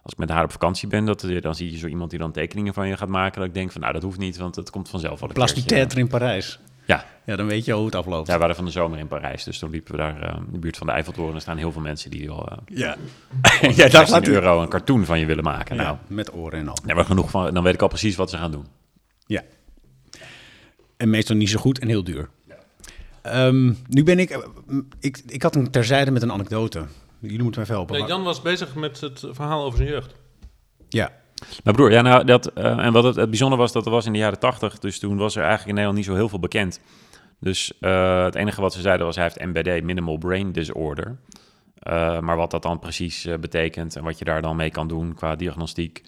A: als ik met haar op vakantie ben, dat, eh, dan zie je zo iemand die dan tekeningen van je gaat maken. Dat ik denk van, nou, dat hoeft niet, want het komt vanzelf wel een
D: Place du
A: keertje.
D: Theater in Parijs.
A: Ja,
D: Ja, dan weet je al hoe het afloopt.
A: wij waren van de zomer in Parijs, dus toen liepen we daar eh, in de buurt van de Eiffeltoren. Er staan heel veel mensen die al eh
D: [LAUGHS] Ja.
A: voor
D: daar
A: 16
D: gaat-ie.
A: euro een cartoon van je willen maken. Nou,
D: Nou, met oren en al.
A: Ja, maar genoeg van, dan weet ik al precies wat ze gaan doen.
D: Ja. En meestal niet zo goed en heel duur. Ehm, nu ben ik, ik... Ik had een terzijde met een anekdote. Jullie moeten me even helpen.
E: Nee,
D: maar-
E: Jan was bezig met het verhaal over zijn jeugd.
D: Ja.
A: Nou broer, ja, nou, dat, eh, en wat het, het bijzondere was, dat er was in de jaren tachtig. Dus toen was er eigenlijk in Nederland niet zo heel veel bekend. Dus eh, het enige wat ze zeiden was, hij heeft MBD, Minimal Brain Disorder. Eh, maar wat dat dan precies eh, betekent en wat je daar dan mee kan doen qua diagnostiek.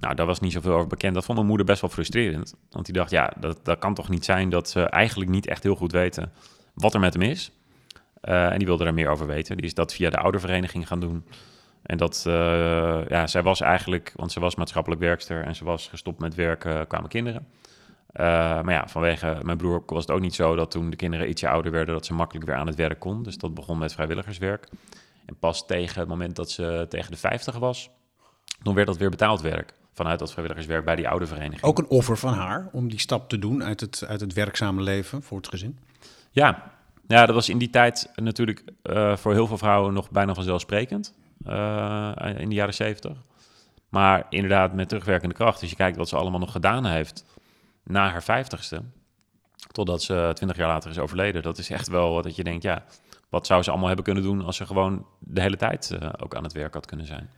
A: Nou, daar was niet zoveel over bekend. Dat vond mijn moeder best wel frustrerend. Want die dacht, ja, dat, dat kan toch niet zijn dat ze eigenlijk niet echt heel goed weten wat er met hem is. Eh, en die wilde er meer over weten. Die is dat via de oudervereniging gaan doen. En dat, eh, ja, zij was eigenlijk, want ze was maatschappelijk werkster en ze was gestopt met werken, kwamen kinderen. Eh, maar ja, vanwege mijn broer was het ook niet zo dat toen de kinderen ietsje ouder werden, dat ze makkelijk weer aan het werk kon. Dus dat begon met vrijwilligerswerk. En pas tegen het moment dat ze tegen de 50 was, toen werd dat weer betaald werk. Vanuit dat vrijwilligerswerk bij die oude vereniging.
D: Ook een offer van haar om die stap te doen uit het, uit het werkzame leven voor het gezin.
A: Ja. ja, dat was in die tijd natuurlijk eh, voor heel veel vrouwen nog bijna vanzelfsprekend. eh, in de jaren zeventig. Maar inderdaad, met terugwerkende kracht, als je kijkt wat ze allemaal nog gedaan heeft na haar vijftigste, totdat ze twintig jaar later is overleden, dat is echt wel dat je denkt, ja, wat zou ze allemaal hebben kunnen doen als ze gewoon de hele tijd eh, ook aan het werk had kunnen zijn.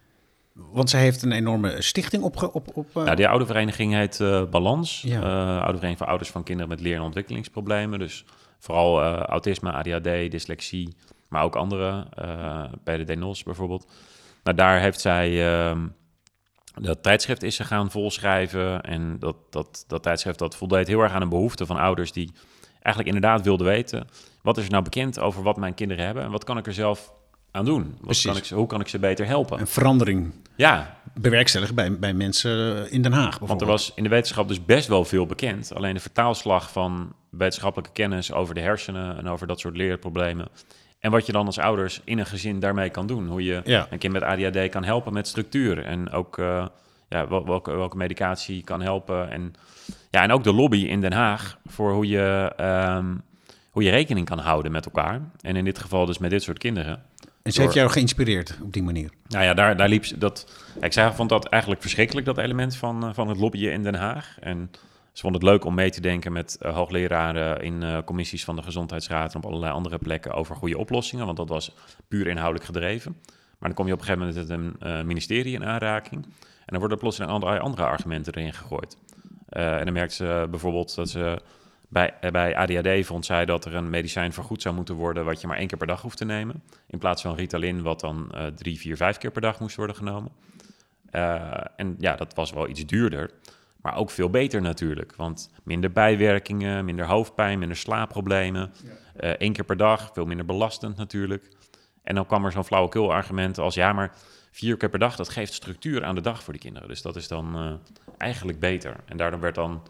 D: Want zij heeft een enorme stichting opge... Op, op, eh,
A: Nou, die oude vereniging heet eh, Balans.
D: Ja.
A: Eh, oude vereniging voor ouders van kinderen met leer- en ontwikkelingsproblemen. Dus vooral eh, autisme, ADHD, dyslexie, maar ook andere. eh, bij de DNOS bijvoorbeeld. Nou, daar heeft zij... ehm, dat tijdschrift is ze gaan volschrijven. En dat, dat, dat tijdschrift dat voldeed heel erg aan een behoefte van ouders... die eigenlijk inderdaad wilden weten... wat is er nou bekend over wat mijn kinderen hebben... en wat kan ik er zelf aan doen? Wat
D: Precies.
A: kan ik, ze- hoe kan ik ze beter helpen?
D: een verandering
A: Ja,
D: bewerkstelligen bij, bij mensen in Den Haag
A: Want er
D: bijvoorbeeld.
A: was in de wetenschap dus best wel veel bekend. Alleen de vertaalslag van wetenschappelijke kennis over de hersenen en over dat soort leerproblemen. En wat je dan als ouders in een gezin daarmee kan doen. Hoe je
D: Ja.
A: een kind met ADHD kan helpen met structuur. En ook eh, ja, wel- welke, welke medicatie kan helpen. En, ja, en ook de lobby in Den Haag voor hoe je, ehm, hoe je rekening kan houden met elkaar. En in dit geval dus met dit soort kinderen.
D: En ze heeft jou geïnspireerd op die manier.
A: Nou ja, daar, daar liep ze dat. Ik zei, vond dat eigenlijk verschrikkelijk, dat element van, eh, van het lobbyen in Den Haag. En ze vond het leuk om mee te denken met eh, hoogleraren in eh, commissies van de Gezondheidsraad en op allerlei andere plekken over goede oplossingen, want dat was puur inhoudelijk gedreven. Maar dan kom je op een gegeven moment met een eh, ministerie in aanraking en dan worden er plotseling allerlei andere argumenten erin gegooid. Eh, en dan merkt ze bijvoorbeeld dat ze bij, eh, bij ADHD vond zij dat er een medicijn vergoed zou moeten worden wat je maar één keer per dag hoeft te nemen. In plaats van Ritalin, wat dan eh, drie, vier, vijf keer per dag moest worden genomen. Eh, en ja, dat was wel iets duurder, maar ook veel beter natuurlijk. Want minder bijwerkingen, minder hoofdpijn, minder slaapproblemen. Eh, Eén keer per dag, veel minder belastend natuurlijk. En dan kwam er zo'n flauwekul argument als... ja, maar vier keer per dag, dat geeft structuur aan de dag voor de kinderen. Dus dat is dan eh, eigenlijk beter. En daardoor werd dan... eh,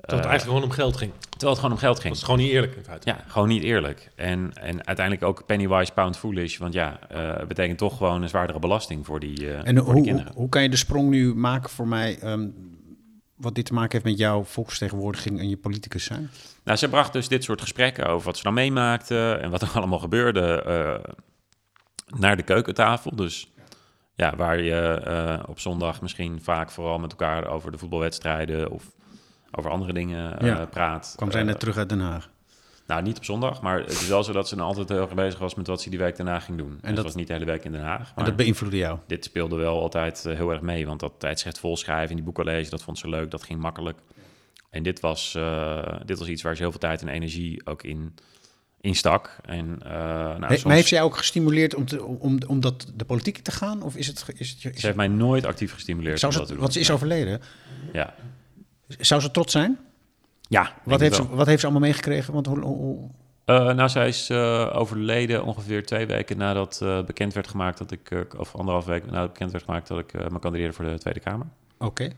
E: Dat het eigenlijk gewoon om geld ging.
A: Terwijl het gewoon om geld ging.
E: Dat is gewoon niet eerlijk in feite.
A: Ja, gewoon niet eerlijk. En, en uiteindelijk ook pennywise, pound foolish. Want ja, eh, het betekent toch gewoon een zwaardere belasting voor die, eh,
D: En
A: voor die
D: hoe, hoe,
A: kinderen.
D: hoe kan je de sprong nu maken voor mij... ehm, wat dit te maken heeft met jouw volksvertegenwoordiging en je politicus zijn?
A: Nou, ze bracht dus dit soort gesprekken over wat ze nou meemaakte... en wat er [LAUGHS] allemaal gebeurde eh, naar de keukentafel. Dus ja, waar je eh, op zondag misschien vaak vooral met elkaar... over de voetbalwedstrijden of over andere dingen eh,
D: Ja.
A: praat.
D: Kwam zij
A: Eh,
D: net terug uit Den Haag?
A: Nou, niet op zondag, maar het is wel zo dat ze dan altijd heel erg bezig was... met wat ze die week daarna ging doen. En, dat
D: dat-
A: was niet de hele week in Den Haag.
D: En
A: maar-
D: dat beïnvloedde jou?
A: dit speelde wel altijd eh, heel erg mee. Want dat tijdschrift volschrijven in die boekenlezen, dat vond ze leuk, dat ging makkelijk. En dit was, eh, dit was iets waar ze heel veel tijd en energie ook in, in stak. En, eh, nou,
D: He-
A: soms-
D: Maar heeft zij jou ook gestimuleerd om, te, om, om dat de politiek te gaan? Of is het... ge- Is het, is
A: Ze heeft mij nooit actief gestimuleerd. om
D: zou ze,
A: dat te doen.
D: want ze is overleden.
A: Ja.
D: Zou ze trots zijn?
A: ja
D: Wat heeft, ze,
A: ze?
D: wat heeft ze allemaal meegekregen? Want hoe, hoe- hoe-
A: nou, zij is eh, overleden ongeveer twee weken nadat eh, bekend werd gemaakt dat ik, eh, of anderhalf week nadat bekend werd gemaakt dat ik eh, me kandideerde voor de Tweede Kamer.
D: Oké.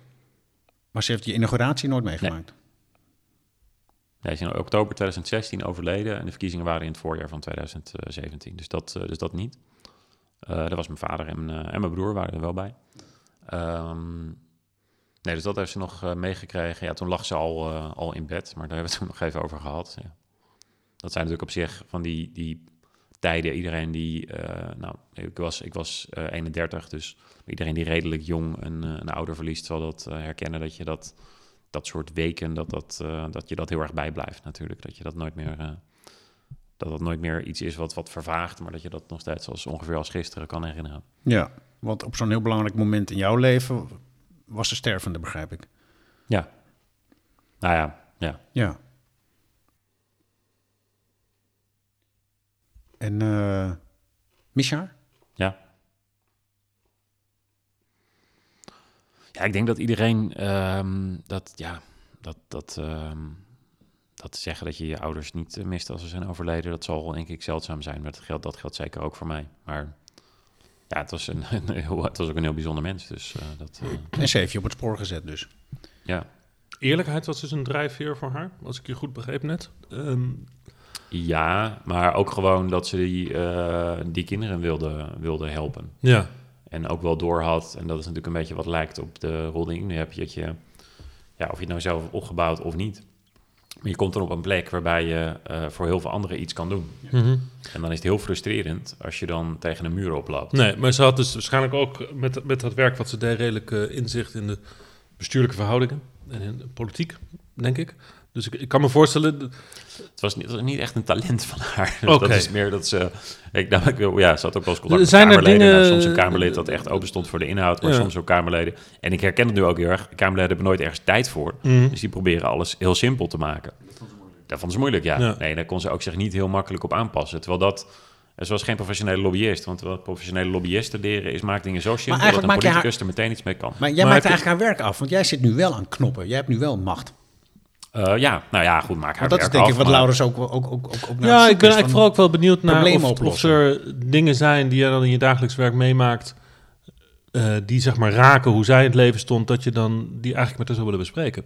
D: Maar ze heeft je inauguratie nooit meegemaakt?
A: Hij is in oktober 2016 overleden en de verkiezingen waren in het voorjaar van 2017. Dus dat, eh, dus dat niet. Eh daar was mijn vader en, mijn, eh, en mijn broer waren er wel bij. Ehm, nee, dus dat heeft ze nog eh, meegekregen. Ja, toen lag ze al, eh, al in bed, maar daar hebben we het [LAUGHS] toen nog even over gehad. Ja. Dat zijn natuurlijk op zich van die, die tijden. Iedereen die, eh, nou, ik was, ik was eh, 31, dus iedereen die redelijk jong een, eh, een ouder verliest, zal dat eh, herkennen dat je dat dat soort weken, dat, dat, eh, dat je dat heel erg bijblijft natuurlijk. Dat je dat nooit meer, eh, dat dat nooit meer iets is wat, wat vervaagt, maar dat je dat nog steeds als, ongeveer als gisteren kan herinneren.
D: Ja, want op zo'n heel belangrijk moment in jouw leven was ze stervende, begrijp ik.
A: Ja. Nou ja, ja.
D: Ja. En eh mis je haar?
A: Ja. Ja, ik denk dat iedereen ehm, dat, ja, dat, dat, ehm, dat zeggen dat je je ouders niet eh, mist als ze zijn overleden, dat zal denk ik zeldzaam zijn. Maar dat geldt, dat geldt zeker ook voor mij. Maar ja, het was, een, [LAUGHS] een heel, het was ook een heel bijzonder mens. Dus eh, dat, eh,
D: En ze heeft je op het spoor gezet dus.
A: ja.
E: Eerlijkheid was dus een drijfveer voor haar, als ik je goed begreep net. Ehm,
A: Ja, maar ook gewoon dat ze die, eh, die kinderen wilde, wilde helpen.
E: ja.
A: En ook wel doorhad. En dat is natuurlijk een beetje wat lijkt op de rol die ik nu heb. Dat je, ja, of je het nou zelf hebt opgebouwd of niet. Maar je komt dan op een plek waarbij je eh, voor heel veel anderen iets kan doen. En dan is het heel frustrerend als je dan tegen een muur oploopt.
E: Nee, maar ze had dus waarschijnlijk ook met, met dat werk wat ze deed redelijk eh, inzicht in de bestuurlijke verhoudingen en in de politiek, denk ik. Dus ik, ik kan me voorstellen... dat-
A: Het was niet, het was niet echt een talent van haar. [LAUGHS] Dus
E: Oké.
A: Dat is meer dat ze... Ik namelijk, wil- ja, ze had ook wel eens contact met
E: Zijn er
A: Kamerleden.
E: dingen-
A: Nou, soms een Kamerlid dat echt open stond voor de inhoud, maar
E: Ja.
A: soms ook Kamerleden. En ik herken het nu ook heel erg. Kamerleden hebben nooit ergens tijd voor.
E: Mhm.
A: Dus die proberen alles heel simpel te maken. Dat vond ze moeilijk, ja.
E: Ja.
A: Nee, daar kon ze ook zich niet heel makkelijk op aanpassen. Terwijl dat... en Ze was geen professionele lobbyist. Want wat professionele lobbyisten leren is, maak dingen zo simpel dat
D: eigenlijk
A: een
D: maak je haar-
A: politicus er meteen iets mee kan.
D: Maar jij
E: Maar
D: maakt
E: heb je-
D: eigenlijk haar werk af, want jij zit nu wel aan knoppen. Jij hebt nu wel macht.
A: Eh, ja, nou ja, goed, maak haar
D: Want dat is
A: werk
D: denk ik
A: af,
D: wat
A: maar-
D: Laurens ook, ook, ook, ook, ook naar op Nou, zoek
E: ja, ik
D: is
E: ben
D: van-
E: eigenlijk vooral ook wel benieuwd naar
D: problemen
E: of, of er dingen zijn die je dan in je dagelijks werk meemaakt... eh, die zeg maar raken hoe zij in het leven stond... dat je dan die eigenlijk met haar zou willen bespreken.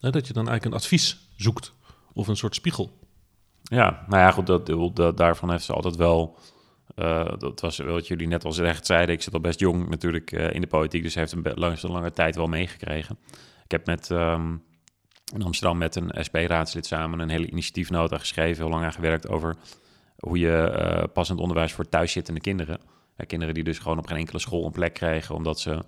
E: Hè, dat je dan eigenlijk een advies zoekt. Of een soort spiegel.
A: Ja, nou ja, goed, dat, dat, dat- daarvan heeft ze altijd wel... eh, dat was wel wat jullie net al recht zeiden. Ik zit al best jong natuurlijk eh, in de politiek, dus ze heeft een be- langs een lange tijd wel meegekregen. Ik heb met, ehm, in Amsterdam met een SP-raadslid samen een hele initiatiefnota geschreven, heel lang aan gewerkt over hoe je eh, passend onderwijs voor thuiszittende kinderen, eh, kinderen die dus gewoon op geen enkele school een plek kregen, omdat ze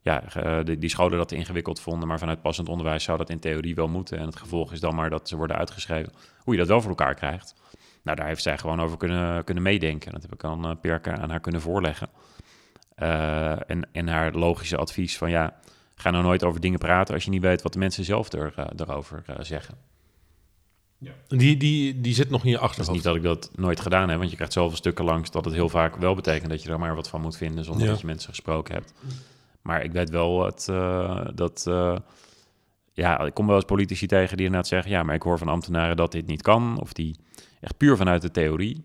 A: ja, eh, die, die scholen dat te ingewikkeld vonden, maar vanuit passend onderwijs zou dat in theorie wel moeten. En het gevolg is dan maar dat ze worden uitgeschreven. Hoe je dat wel voor elkaar krijgt. Nou, daar heeft zij gewoon over kunnen, kunnen meedenken. Dat heb ik aan eh, Perka aan haar kunnen voorleggen. Eh, en, en haar logische advies van ja, ga nou nooit over dingen praten als je niet weet wat de mensen zelf er, eh, daarover eh, zeggen.
E: Die, die, die zit nog in je
A: Dat is
E: achterhoofd.
A: niet dat ik dat nooit gedaan heb, want je krijgt zoveel stukken langs dat het heel vaak wel betekent dat je er maar wat van moet vinden zonder
E: Ja.
A: dat je mensen gesproken hebt. Maar ik weet wel het, eh, dat. eh, ja, ik kom wel eens politici tegen die inderdaad zeggen: ja, maar ik hoor van ambtenaren dat dit niet kan. Of die echt puur vanuit de theorie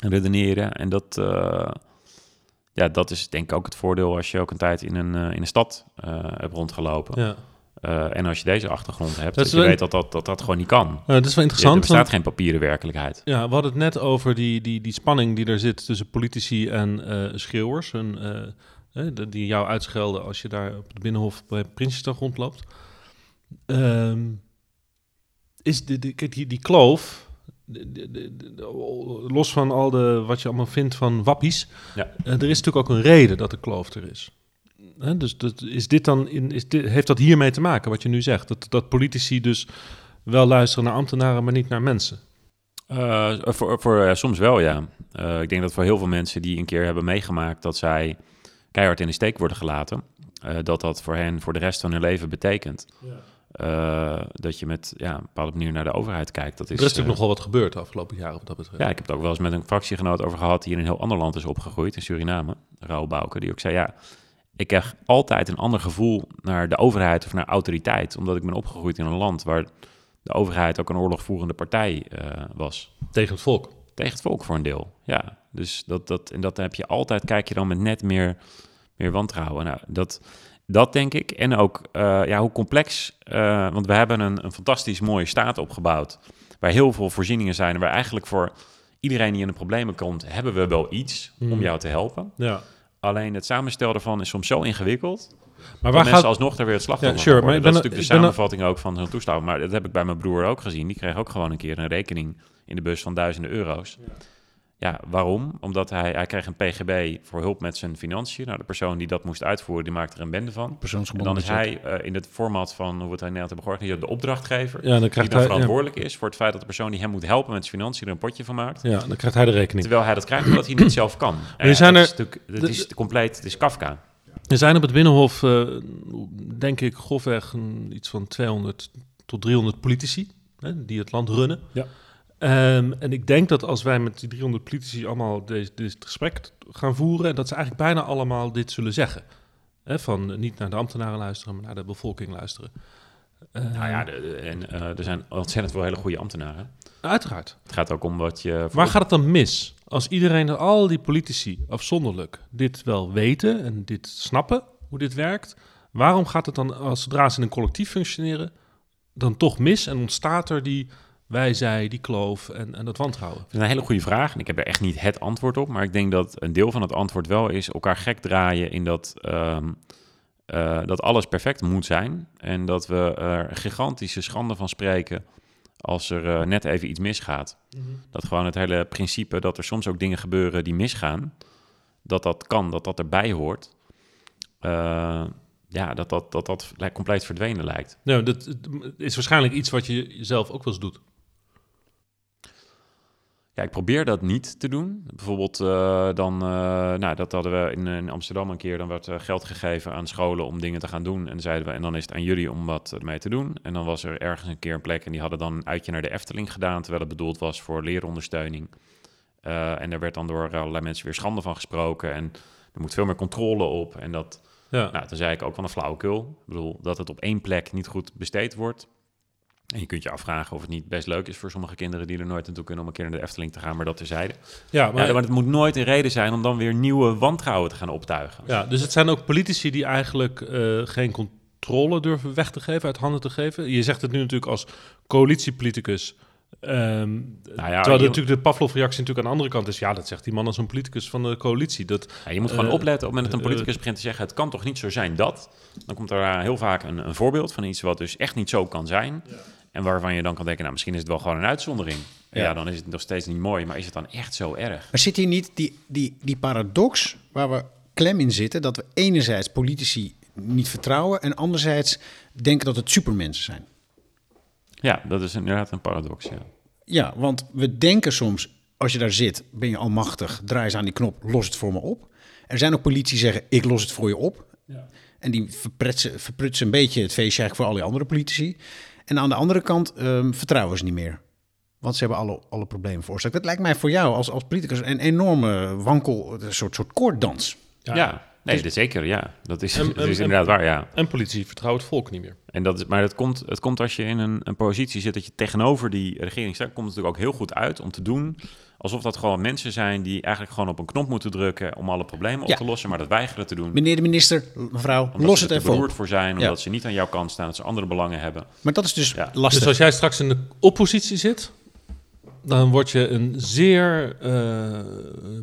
A: redeneren. En dat. eh, ja, dat is denk ik ook het voordeel als je ook een tijd in een, eh, in een stad eh, hebt rondgelopen.
E: Ja.
A: Eh, en als je deze achtergrond hebt,
E: Dat
A: dat,
E: is
A: je
E: wel-
A: weet dat dat, dat dat gewoon niet kan.
E: Eh, dat is wel
A: Er
E: interessant. want-
A: bestaat geen papieren werkelijkheid.
E: Ja, we hadden het net over die, die, die spanning die er zit tussen politici en eh, schreeuwers. En, eh, eh, de- die jou uitschelden als je daar op het Binnenhof bij Prinsjesdag rondloopt. Ehm, is de, de, kijk, die, die kloof, de- de- de- de- de- los van al de, wat je allemaal vindt van wappies,
A: Ja.
E: eh, er is natuurlijk ook een reden dat de kloof er is. Hè, dus dat, is dit dan in, is dit, heeft dat hiermee te maken, wat je nu zegt? Dat, dat politici dus wel luisteren naar ambtenaren, maar niet naar mensen?
A: Eh, voor voor eh, soms wel, ja. Eh, ik denk dat voor heel veel mensen die een keer hebben meegemaakt dat zij keihard in de steek worden gelaten, eh, dat dat voor hen voor de rest van hun leven betekent. Eh, dat je met ja, een bepaalde manier naar de overheid kijkt. Dat is,
E: Er is natuurlijk
A: eh,
E: nogal wat gebeurd de afgelopen jaren wat dat betreft.
A: ja, ik heb het ook wel eens met een fractiegenoot over gehad die in een heel ander land is opgegroeid, in Suriname, Raoul Bouke, die ook zei, ja, ik krijg altijd een ander gevoel naar de overheid of naar autoriteit, omdat ik ben opgegroeid in een land waar de overheid ook een oorlogvoerende partij eh, was
E: Tegen het volk.
A: tegen het volk voor een deel. Ja, dus dat, dat, en dat heb je altijd, kijk je dan met net meer, meer wantrouwen. Nou, dat, dat denk ik. En ook eh, ja, hoe complex, eh, want we hebben een, een fantastisch mooie staat opgebouwd, waar heel veel voorzieningen zijn, en waar eigenlijk voor iedereen die in de problemen komt, hebben we wel iets om jou te helpen.
E: Ja.
A: Alleen het samenstel daarvan is soms zo ingewikkeld
E: Maar
A: maar
E: waar
A: mensen
E: gaat...
A: alsnog daar weer het slachtoffer
E: Ja,
A: van
E: sure,
A: worden.
E: maar ik
A: dat
E: ben-
A: is
E: ik ben-
A: natuurlijk de samenvatting ook van zo'n toestel. Maar dat heb ik bij mijn broer ook gezien. Die kreeg ook gewoon een keer een rekening in de bus van duizenden euro's. Ja, waarom? Omdat hij, hij kreeg een PGB voor hulp met zijn financiën. Nou, de persoon die dat moest uitvoeren, die maakte er een bende van. En
D: Persoonsgebonden
A: dan is
D: budget.
A: hij eh, in het format van hoe we het in Nederland hebben georganiseerd, de opdrachtgever.
E: Ja, dan
A: die
E: krijgt
A: dan
E: hij... Ja,
A: verantwoordelijk is voor het feit dat de persoon die hem moet helpen met zijn financiën er een potje van maakt.
E: Ja, dan krijgt hij de rekening.
A: Terwijl hij dat krijgt omdat hij niet zelf kan.
E: nu
A: Eh,
E: zijn
A: dat
E: er-
A: is natuurlijk, dat is compleet, het is Kafka.
E: Er zijn op het Binnenhof, eh, denk ik, grofweg een- iets van 200 tot 300 politici hè, die het land runnen.
A: Ja.
E: Ehm, en ik denk dat als wij met die 300 politici allemaal deze, dit gesprek t- gaan voeren, dat ze eigenlijk bijna allemaal dit zullen zeggen. Hè, van eh, niet naar de ambtenaren luisteren, maar naar de bevolking luisteren.
A: Nou ja, de- de- en, eh, er zijn ontzettend veel hele goede ambtenaren.
E: Uiteraard.
A: Het gaat ook om wat je.
E: Waar gaat het dan mis? Als iedereen, al die politici afzonderlijk, dit wel weten en dit snappen, hoe dit werkt, waarom gaat het dan, als zodra ze in een collectief functioneren, dan toch mis en ontstaat er die wij, zij, die kloof en, en dat wantrouwen?
A: Dat is een hele goede vraag. En ik heb er echt niet het antwoord op. Maar ik denk dat een deel van het antwoord wel is elkaar gek draaien in dat, ehm, eh, dat alles perfect moet zijn. En dat we er gigantische schande van spreken als er eh, net even iets misgaat. Dat gewoon het hele principe dat er soms ook dingen gebeuren die misgaan. Dat dat kan, dat dat erbij hoort. Eh, ja, dat dat, dat, dat lijk- compleet verdwenen lijkt.
E: Nou, dat het is waarschijnlijk iets wat je zelf ook wel eens doet.
A: Ja, ik probeer dat niet te doen. Bijvoorbeeld eh, dan, eh, nou, dat hadden we in, in Amsterdam een keer. Dan werd eh, geld gegeven aan scholen om dingen te gaan doen. En dan zeiden we, en dan is het aan jullie om wat ermee te doen. En dan was er ergens een keer een plek en die hadden dan een uitje naar de Efteling gedaan. Terwijl het bedoeld was voor leerondersteuning. Eh, en daar werd dan door allerlei mensen weer schande van gesproken. En er moet veel meer controle op. En dat,
E: Ja.
A: Nou, toen zei ik ook van een flauwekul. Ik bedoel, dat het op één plek niet goed besteed wordt. En je kunt je afvragen of het niet best leuk is voor sommige kinderen die er nooit naartoe kunnen om een keer naar de Efteling te gaan, maar dat terzijde.
E: ja,
A: Maar,
E: maar,
A: ja,
E: ja,
A: maar het moet nooit een reden zijn om dan weer nieuwe wantrouwen te gaan optuigen.
E: dus het zijn ook politici die eigenlijk eh, geen controle durven weg te geven, uit handen te geven. Je zegt het nu natuurlijk als coalitiepoliticus. ehm,
A: Nou ja, je,
E: terwijl er natuurlijk de Pavlov-reactie natuurlijk aan de andere kant is. Ja, dat zegt die man als een politicus van de coalitie. Dat,
A: ja, je moet gewoon
E: eh,
A: opletten op het moment dat een
E: eh,
A: politicus begint te zeggen: het kan toch niet zo zijn dat. Dan komt er eh, heel vaak een, een voorbeeld van iets wat dus echt niet zo kan zijn. En waarvan je dan kan denken: nou, misschien is het wel gewoon een uitzondering. Ja,
D: Ja.
A: dan is het nog steeds niet mooi, maar is het dan echt zo erg?
D: Maar zit hier niet die, die, die paradox waar we klem in zitten? Dat we enerzijds politici niet vertrouwen en anderzijds denken dat het supermensen zijn.
A: Ja, dat is inderdaad een paradox. Ja.
D: Ja, want we denken soms, als je daar zit, ben je almachtig, draai eens aan die knop, los het voor me op. Er zijn ook politici die zeggen, ik los het voor je op. En die verpretsen, verprutsen een beetje het feestje eigenlijk voor al die andere politici. En aan de andere kant ehm, vertrouwen ze niet meer. Want ze hebben alle, alle problemen veroorzaakt. Dat lijkt mij voor jou als, als politicus een enorme wankel, een soort, soort koorddans.
A: Ja,
D: Dus
A: nee, dat zeker, ja. Dat is,
D: Ehm,
E: En-
A: dat
E: en-
A: is
E: en-
A: inderdaad waar, ja.
E: En politici vertrouwen het volk niet meer.
A: En dat is, maar dat komt, het komt als je in een, een positie zit dat je tegenover die regering staat, komt het natuurlijk ook heel goed uit om te doen alsof dat gewoon mensen zijn die eigenlijk gewoon op een knop moeten drukken om alle problemen op
D: Ja.
A: te lossen, maar dat weigeren te doen.
D: Meneer de minister, mevrouw,
A: omdat
D: los
A: ze
D: het
A: er te
D: even
A: beroerd
D: op.
A: voor zijn,
D: Ja.
A: omdat ze niet aan jouw kant staan, dat ze andere belangen hebben.
D: Maar dat is dus
A: Ja.
D: lastig.
E: Dus als jij straks in de oppositie zit, dan word je een zeer eh,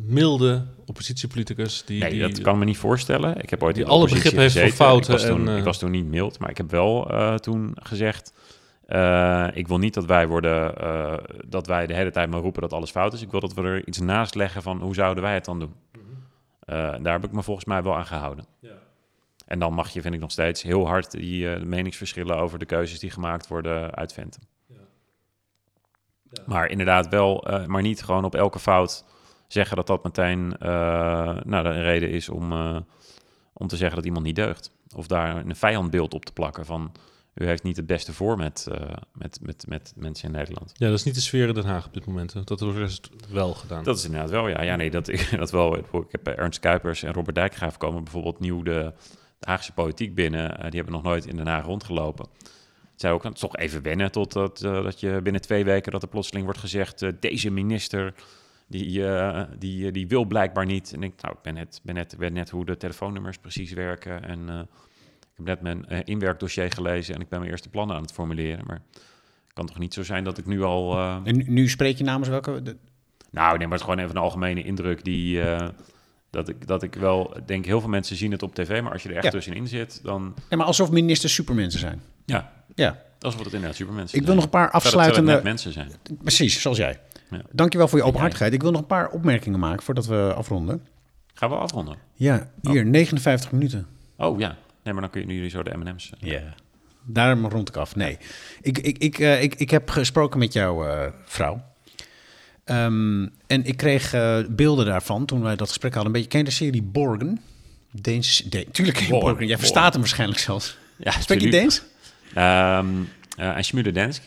E: milde oppositiepoliticus. Die,
A: Nee,
E: die,
A: dat kan me niet voorstellen. Ik heb ooit
E: die
A: in de
E: alle
A: oppositie
E: begrip heeft
A: gezeten.
E: voor fouten
A: Ik was, toen,
E: en, eh,
A: ik was toen niet mild, maar ik heb wel eh, toen gezegd... eh, ik wil niet dat wij worden, eh, dat wij de hele tijd maar roepen dat alles fout is. Ik wil dat we er iets naast leggen van hoe zouden wij het dan doen.
E: Mhm.
A: Eh, en daar heb ik me volgens mij wel aan gehouden. En dan mag je, vind ik nog steeds, heel hard die eh, meningsverschillen over de keuzes die gemaakt worden uitventen. Maar inderdaad wel, eh, maar niet gewoon op elke fout zeggen dat dat meteen eh, nou, een reden is om, eh, om te zeggen dat iemand niet deugt. Of daar een vijandbeeld op te plakken van u heeft niet het beste voor met, eh, met, met, met mensen in Nederland.
E: Ja, dat is niet de sfeer in Den Haag op dit moment. hè. Dat wordt rest wel gedaan.
A: Dat is inderdaad wel, ja. Ja, nee, dat, dat wel. Ik [LAUGHS] heb eh, Ernst Kuipers en Robert Dijkgraaf komen bijvoorbeeld nieuw de, de Haagse politiek binnen. Eh, die hebben nog nooit in Den Haag rondgelopen. Zij ook, het is toch even wennen totdat eh, dat je binnen twee weken dat er plotseling wordt gezegd... eh, deze minister, die, eh, die, eh, die wil blijkbaar niet. En ik, nou, ik ben net, ben net, ben net hoe de telefoonnummers precies werken. En eh, ik heb net mijn eh, inwerkdossier gelezen en ik ben mijn eerste plannen aan het formuleren. Maar het kan toch niet zo zijn dat ik nu al... eh,
D: En nu, nu spreek je namens welke... de-
A: nou, nee, maar het is gewoon even een algemene indruk die. eh, dat, ik, dat ik wel denk, heel veel mensen zien het op tv, maar als je er echt
D: Ja.
A: tussenin zit, dan.
D: Nee, maar alsof ministers supermensen zijn.
A: Ja,
D: Ja,
A: dat is wat het inderdaad supermensen
D: ik wil nog een paar
A: Terwijl
D: afsluitende...
A: het net mensen zijn.
D: Precies, zoals jij.
A: Ja.
D: Dankjewel voor je openhartigheid. Ik wil nog een paar opmerkingen maken voordat we afronden.
A: Gaan we afronden?
D: Ja, hier, 59 minuten.
A: Oh ja. Nee, maar dan kunnen jullie zo de MM's. eh.
D: Ja. Daarom rond ik af. Nee, ik, ik, ik, eh, ik, ik heb gesproken met jouw eh, vrouw. Ehm, en ik kreeg eh, beelden daarvan toen wij dat gesprek hadden. Een beetje, ken je de serie Borgen? Deens, De- tuurlijk ken je
A: Borgen,
D: Borgen. Jij
A: Borgen.
D: verstaat hem waarschijnlijk zelfs.
A: Ja,
D: Spreek je
A: absoluut.
D: Deens?
A: Ehm, eh, en Schmude Dansk.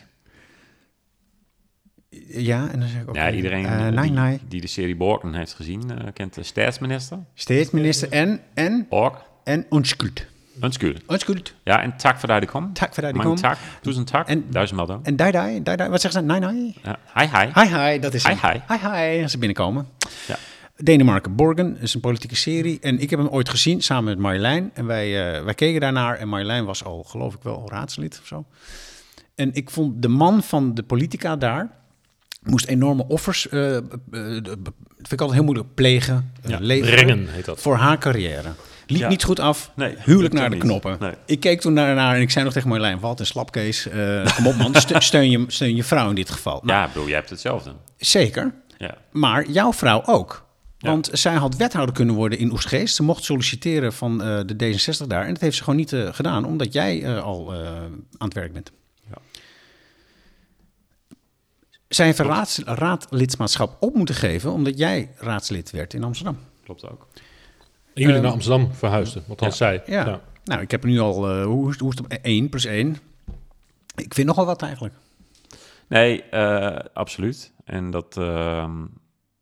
D: Ja, en dan zeg ik ook...
A: Ja, iedereen
D: eh,
A: eh,
D: nee,
A: die,
D: nee.
A: die de serie Borken heeft gezien, eh, kent de staatsminister.
D: Steeds minister en... En...
A: Bork.
D: En onschuld.
A: Een skuur.
D: Onschuld.
A: Ja, en tak voor daar de kom.
D: Tak voor daar de
A: Mijn
D: kom.
A: tak. Duizend tak.
D: En-
A: Duizend mal dan.
D: En dai dai, dai dai. Wat zeggen ze? Nee, nee.
A: Ja, hi, hi.
D: Hi, hi, dat is
A: Hi,
D: hem.
A: hi.
D: Hi, hi, als ze binnenkomen.
A: Ja.
D: Denemarken Borgen is een politieke serie. En ik heb hem ooit gezien samen met Marjolein. En wij, eh, wij keken daarnaar. En Marjolein was al, geloof ik wel, raadslid of zo. En ik vond de man van de politica daar... moest enorme offers... eh, eh, eh, vind ik altijd heel moeilijk plegen. eh, leveren
E: ringen heet dat.
D: Voor haar carrière. Liep
A: Ja.
D: niet goed af.
A: Nee,
D: huwelijk
A: dat
D: naar de
A: kan niet.
D: knoppen.
A: Nee.
D: Ik keek toen daarnaar en ik zei nog tegen Marjolein... wat een slapkees. eh kom op man, Ste- steun je, steun je vrouw in dit geval. Maar
A: Ja, ik bedoel, jij hebt hetzelfde.
D: Zeker.
A: Ja.
D: Maar jouw vrouw ook.
A: Ja.
D: Want zij had wethouder kunnen worden in Oesgeest. Ze mocht solliciteren van eh, de D66 daar. En dat heeft ze gewoon niet eh, gedaan, omdat jij eh, al eh, aan het werk bent.
A: Ja.
D: Zij heeft een raads, raadlidmaatschap op moeten geven, omdat jij raadslid werd in Amsterdam.
A: Klopt ook.
E: En jullie
D: Ehm,
E: naar Amsterdam verhuisden, althans zij.
D: Ja. Nou, ik heb nu al, eh, hoe, is- hoe is het, 1 plus 1. Ik vind nogal wat eigenlijk.
A: Nee, eh, absoluut. En dat, ehm,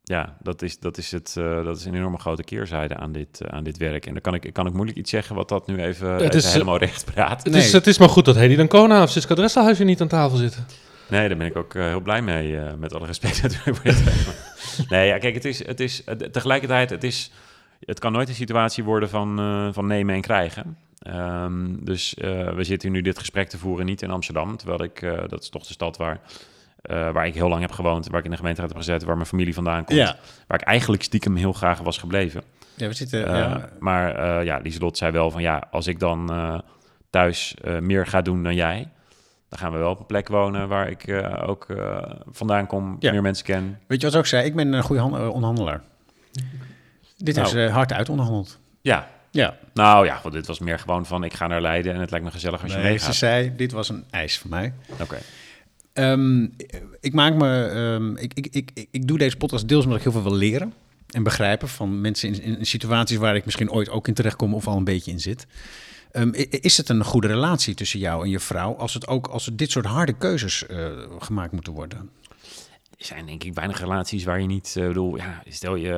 A: ja, dat, is, dat, is het, eh, dat is een enorme grote keerzijde aan dit, eh, aan dit werk. En dan kan ik, kan ik moeilijk iets zeggen wat dat nu even, even
E: is, eh,
A: helemaal recht praat.
E: Het,
D: Nee.
E: is, het is maar goed dat Hedy Dancona of Siska Dresselhuis hier niet aan tafel zitten.
A: Nee, daar ben ik ook eh, heel blij mee, eh, met alle respect [LAUGHS] natuurlijk. voor dit werk. Maar- nee, ja, kijk, het is, het is eh, tegelijkertijd, het, is, het kan nooit een situatie worden van, eh, van nemen en krijgen. Ehm, dus eh, we zitten nu dit gesprek te voeren niet in Amsterdam, terwijl ik, eh, dat is toch de stad waar, eh, waar ik heel lang heb gewoond, waar ik in de gemeenteraad heb gezet, waar mijn familie vandaan komt. waar ik eigenlijk stiekem heel graag was gebleven.
D: ja we zitten...
A: Eh,
D: ja.
A: Maar eh ja, Lieselot zei wel van ja, als ik dan eh, thuis eh, meer ga doen dan jij, dan gaan we wel op een plek wonen waar ik eh, ook eh, vandaan kom,
D: Ja.
A: meer mensen ken.
D: Weet je wat ze ook zei? Ik ben een goede han- eh, onderhandelaar. Dit
A: Nou.
D: hebben ze hard uitonderhandeld.
A: Ja,
D: Ja,
A: nou ja, want dit was meer gewoon van ik ga naar Leiden en het lijkt me gezellig als je
D: nee, ze
A: meegaat.
D: zei, dit was een eis van mij.
A: Oké,
D: Ehm, ik maak me. ehm, ik, ik, ik, ik, ik doe deze podcast deels omdat ik heel veel wil leren en begrijpen van mensen in, in, in situaties waar ik misschien ooit ook in terechtkom of al een beetje in zit. Ehm, i- i- is het een goede relatie tussen jou en je vrouw als het ook als het dit soort harde keuzes eh, gemaakt moeten worden?
A: er zijn denk ik weinig relaties waar je niet, eh, bedoel, ja, stel je,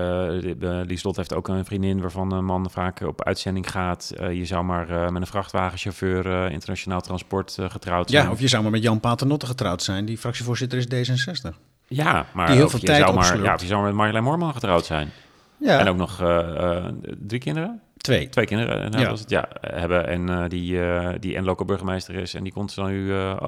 A: eh, Lieselot heeft ook een vriendin waarvan een man vaak op uitzending gaat. Eh, je zou maar eh, met een vrachtwagenchauffeur eh, internationaal transport eh, getrouwd zijn.
D: Ja, of je zou maar met Jan Paternotte getrouwd zijn, die fractievoorzitter is D66.
A: Ja, maar
D: Die heel
A: of
D: veel
A: je
D: tijd
A: zou maar,
D: opslurpt.
A: ja, of je zou maar met Marjolein Moorman getrouwd zijn.
D: Ja,
A: En ook nog eh, eh, drie kinderen?
D: twee.
A: Twee kinderen, eh, nou,
D: Ja.
A: was het, ja, eh, hebben. En eh, die, eh, die en local burgemeester is. En die komt ze dan nu eh, eh,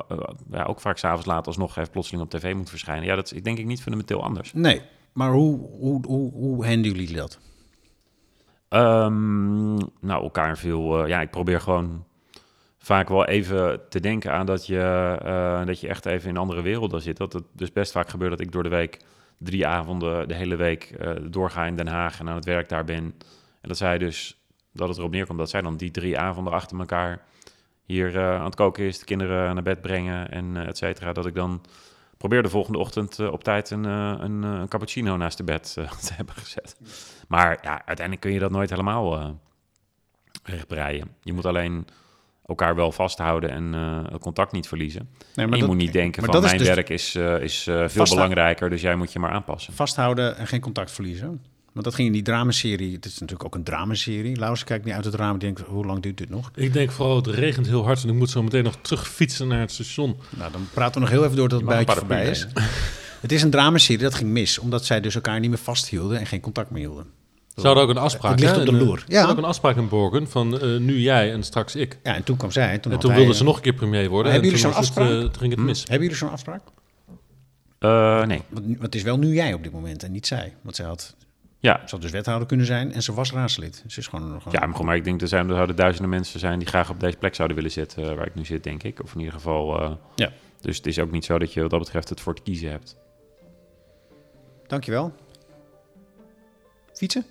A: ja, ook vaak s'avonds laat alsnog even plotseling op tv moet verschijnen. Ja, dat is denk ik niet fundamenteel anders.
D: Nee, maar hoe, hoe, hoe, hoe handelen jullie dat?
A: Ehm, nou, elkaar veel. eh, ja, ik probeer gewoon vaak wel even te denken aan dat je, eh, dat je echt even in andere werelden zit. Dat het dus best vaak gebeurt dat ik door de week drie avonden de hele week eh, doorga in Den Haag en aan het werk daar ben. En dat zij dus, dat het erop neerkomt dat zij dan die drie avonden achter elkaar hier eh, aan het koken is, de kinderen naar bed brengen en eh, et cetera. Dat ik dan probeer de volgende ochtend eh, op tijd een, eh, een, eh, een cappuccino naast de bed eh, [LAUGHS] te hebben gezet. Maar ja, uiteindelijk kun je dat nooit helemaal eh rechtbreien. Je moet alleen elkaar wel vasthouden en eh, het contact niet verliezen.
D: Nee,
A: En je moet niet denken
D: maar
A: van
D: dat
A: mijn
D: is dus
A: werk is, eh, is eh, veel
D: Vasthouden.
A: belangrijker, dus jij moet je maar aanpassen.
D: vasthouden en geen contact verliezen. Want dat ging in die dramaserie. Het is natuurlijk ook een dramaserie. Laurens kijkt niet uit het raam en denkt, hoe lang duurt dit nog?
E: Ik denk vooral, het regent heel hard en ik moet zo meteen nog terugfietsen naar het station.
D: Nou, dan praten we nog heel even door dat het
A: mag een
D: buitje voorbij is.
A: paraplu
D: Het is een dramaserie, dat ging mis. Omdat zij dus elkaar niet meer vasthielden en geen contact meer hielden.
E: Ze hadden ook een afspraak.
D: Het ligt
E: hè,
D: op de
E: in, eh,
D: loer.
E: Ze hadden
D: Ja.
E: ook een afspraak in Borgen van eh, nu jij en straks ik.
D: Ja, en toen kwam zij. En toen,
E: En
D: had
E: toen
D: hij,
E: wilden ze
D: eh,
E: nog een keer premier worden.
D: Hebben
E: en
D: jullie
E: toen
D: zo'n
E: was het,
D: afspraak? Hm.
E: eh, toen ging het mis.
D: Hebben jullie zo'n afspraak?
A: Eh, nee,
D: Want, nu- want het is wel nu jij op dit moment en niet zij. Want zij had,
A: ja.
D: ze had dus wethouder kunnen zijn en ze was raadslid. Ze is gewoon nog
A: Ja, maar, goed, maar ik denk er zijn er zouden duizenden mensen zijn die graag op deze plek zouden willen zitten eh, waar ik nu zit, denk ik. Of in ieder geval. eh,
D: Ja.
A: Dus het is ook niet zo dat je wat dat betreft het voor te kiezen hebt.
D: Dankjewel. Fietsen?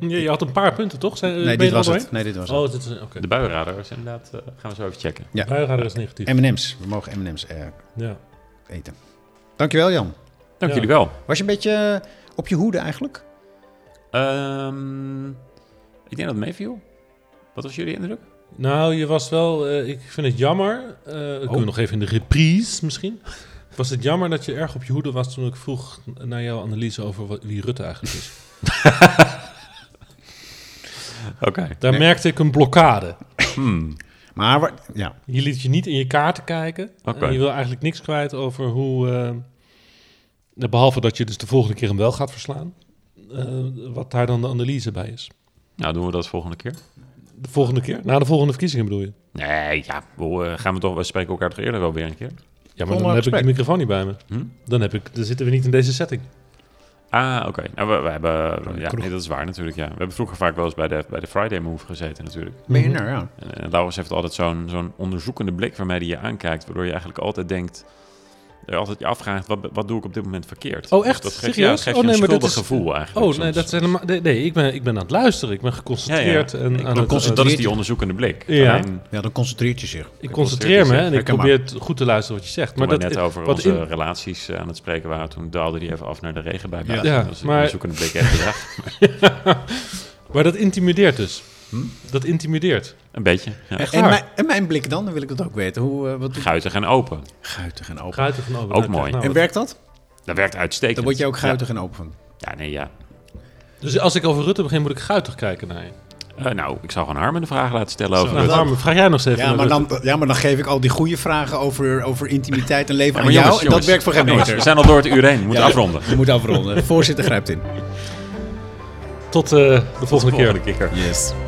E: Ja, je had een paar punten, toch? eh, Zijn,
D: Nee, dit was het. Nee, dit was het.
E: Oh, dit is... Oké.
A: De buienradar is inderdaad, eh, gaan we zo even checken.
D: Ja.
E: Buienradar is negatief.
D: M&M's. We mogen M&M's eh,
E: Ja.
D: eten. Dankjewel, Jan.
A: Dank
E: Ja.
A: jullie wel.
D: Was je een beetje eh, op je hoede eigenlijk?
A: Ehm, ik denk dat het meeviel. Wat was jullie indruk?
E: Nou, je was wel... eh, ik vind het jammer. eh Kunnen
D: Oh.
E: we nog even in de reprise misschien? Was het jammer dat je erg op je hoede was toen ik vroeg naar jouw analyse over wat- wie Rutte eigenlijk is?
A: Oké.
E: Daar merkte ik een blokkade.
D: Maar wa- ja,
E: Je liet je niet in je kaarten kijken.
A: Oké.
E: En je wil eigenlijk niks kwijt over hoe... eh, behalve dat je dus de volgende keer hem wel gaat verslaan. eh, wat daar dan de analyse bij is.
A: Nou, doen we dat volgende keer.
E: De volgende keer? Na de volgende verkiezingen bedoel je?
A: Nee, ja, we, eh, gaan we, toch, we spreken elkaar toch eerder wel weer een keer.
E: Ja, maar
D: Zonder
E: dan heb ik
D: gesprek.
E: de microfoon niet bij me.
A: Hm?
E: Dan, heb ik, dan zitten we niet in deze setting.
A: Ah, oké. Nou, we, we hebben... Ja, nee, dat is waar natuurlijk, ja. We hebben vroeger vaak wel eens bij de, bij de Friday Move gezeten natuurlijk.
D: ben je er, ja.
A: En, en Laurens heeft altijd zo'n zo'n onderzoekende blik waarmee hij je aankijkt, waardoor je eigenlijk altijd denkt... eh, altijd je afvraagt, wat, wat doe ik op dit moment verkeerd?
E: Oh, echt?
A: Dus dat geeft, ja,
E: Serieus?
A: dat geeft
E: Oh,
A: je een
E: nee, maar dat
A: schuldig
E: is-
A: gevoel eigenlijk.
E: Oh, nee,
A: soms.
E: dat is helemaal, nee, nee, ik, ben, ik ben aan het luisteren. Ik ben geconcentreerd.
A: Ja, ja.
E: En aan
A: Dan
E: het,
A: concentreer- dat is die onderzoekende blik.
E: Ja.
A: Alleen,
D: Ja, dan concentreert je zich.
E: eh, ik concentreer me
A: Herkenbaar.
E: en ik probeer het goed te luisteren wat je zegt.
A: Toen
E: Maar
A: we
E: dat, eh,
A: net over
E: wat
A: onze
E: in-
A: relaties eh, aan het spreken waren, toen daalde die even af naar de regen bij
D: Ja.
A: buiten.
E: Ja,
A: dat is een
E: maar-
A: onderzoekende blik even gedacht.
E: maar dat intimideert dus.
A: Hm?
E: Dat intimideert.
A: Een beetje. Ja.
E: Echt
D: En
E: waar.
D: mijn, en mijn blik dan, dan wil ik dat ook weten. Hoe, eh, wat
A: Guitig en open.
D: Guitig en open.
E: Guitig van open.
A: Ook
E: Nou,
A: mooi.
E: kijk nou
D: En
E: wat.
D: werkt dat?
A: Dat werkt uitstekend.
D: Dan word je ook
A: Ja.
D: guitig en open van.
A: Ja, nee, ja.
E: Dus als ik over Rutte begin, moet ik guitig kijken naar je.
A: Eh, nou, ik zou gewoon Harmen de vraag laten stellen over
E: Nou,
A: Rutte.
E: Harm, vraag jij nog eens even
D: Ja
E: naar
D: maar,
E: Rutte.
D: dan, ja, maar dan geef ik al die goede vragen over, over intimiteit en leven
A: Ja,
D: aan
A: maar
D: jou.
A: jongens,
D: en dat
A: jongens,
D: werkt voor geen
A: jongens,
D: meter.
A: We zijn al door het uur heen. We moeten
D: Ja.
A: afronden.
D: Je moet afronden. Voorzitter grijpt in.
E: Tot eh, de volgende keer.
A: Volgende keer.
D: Yes.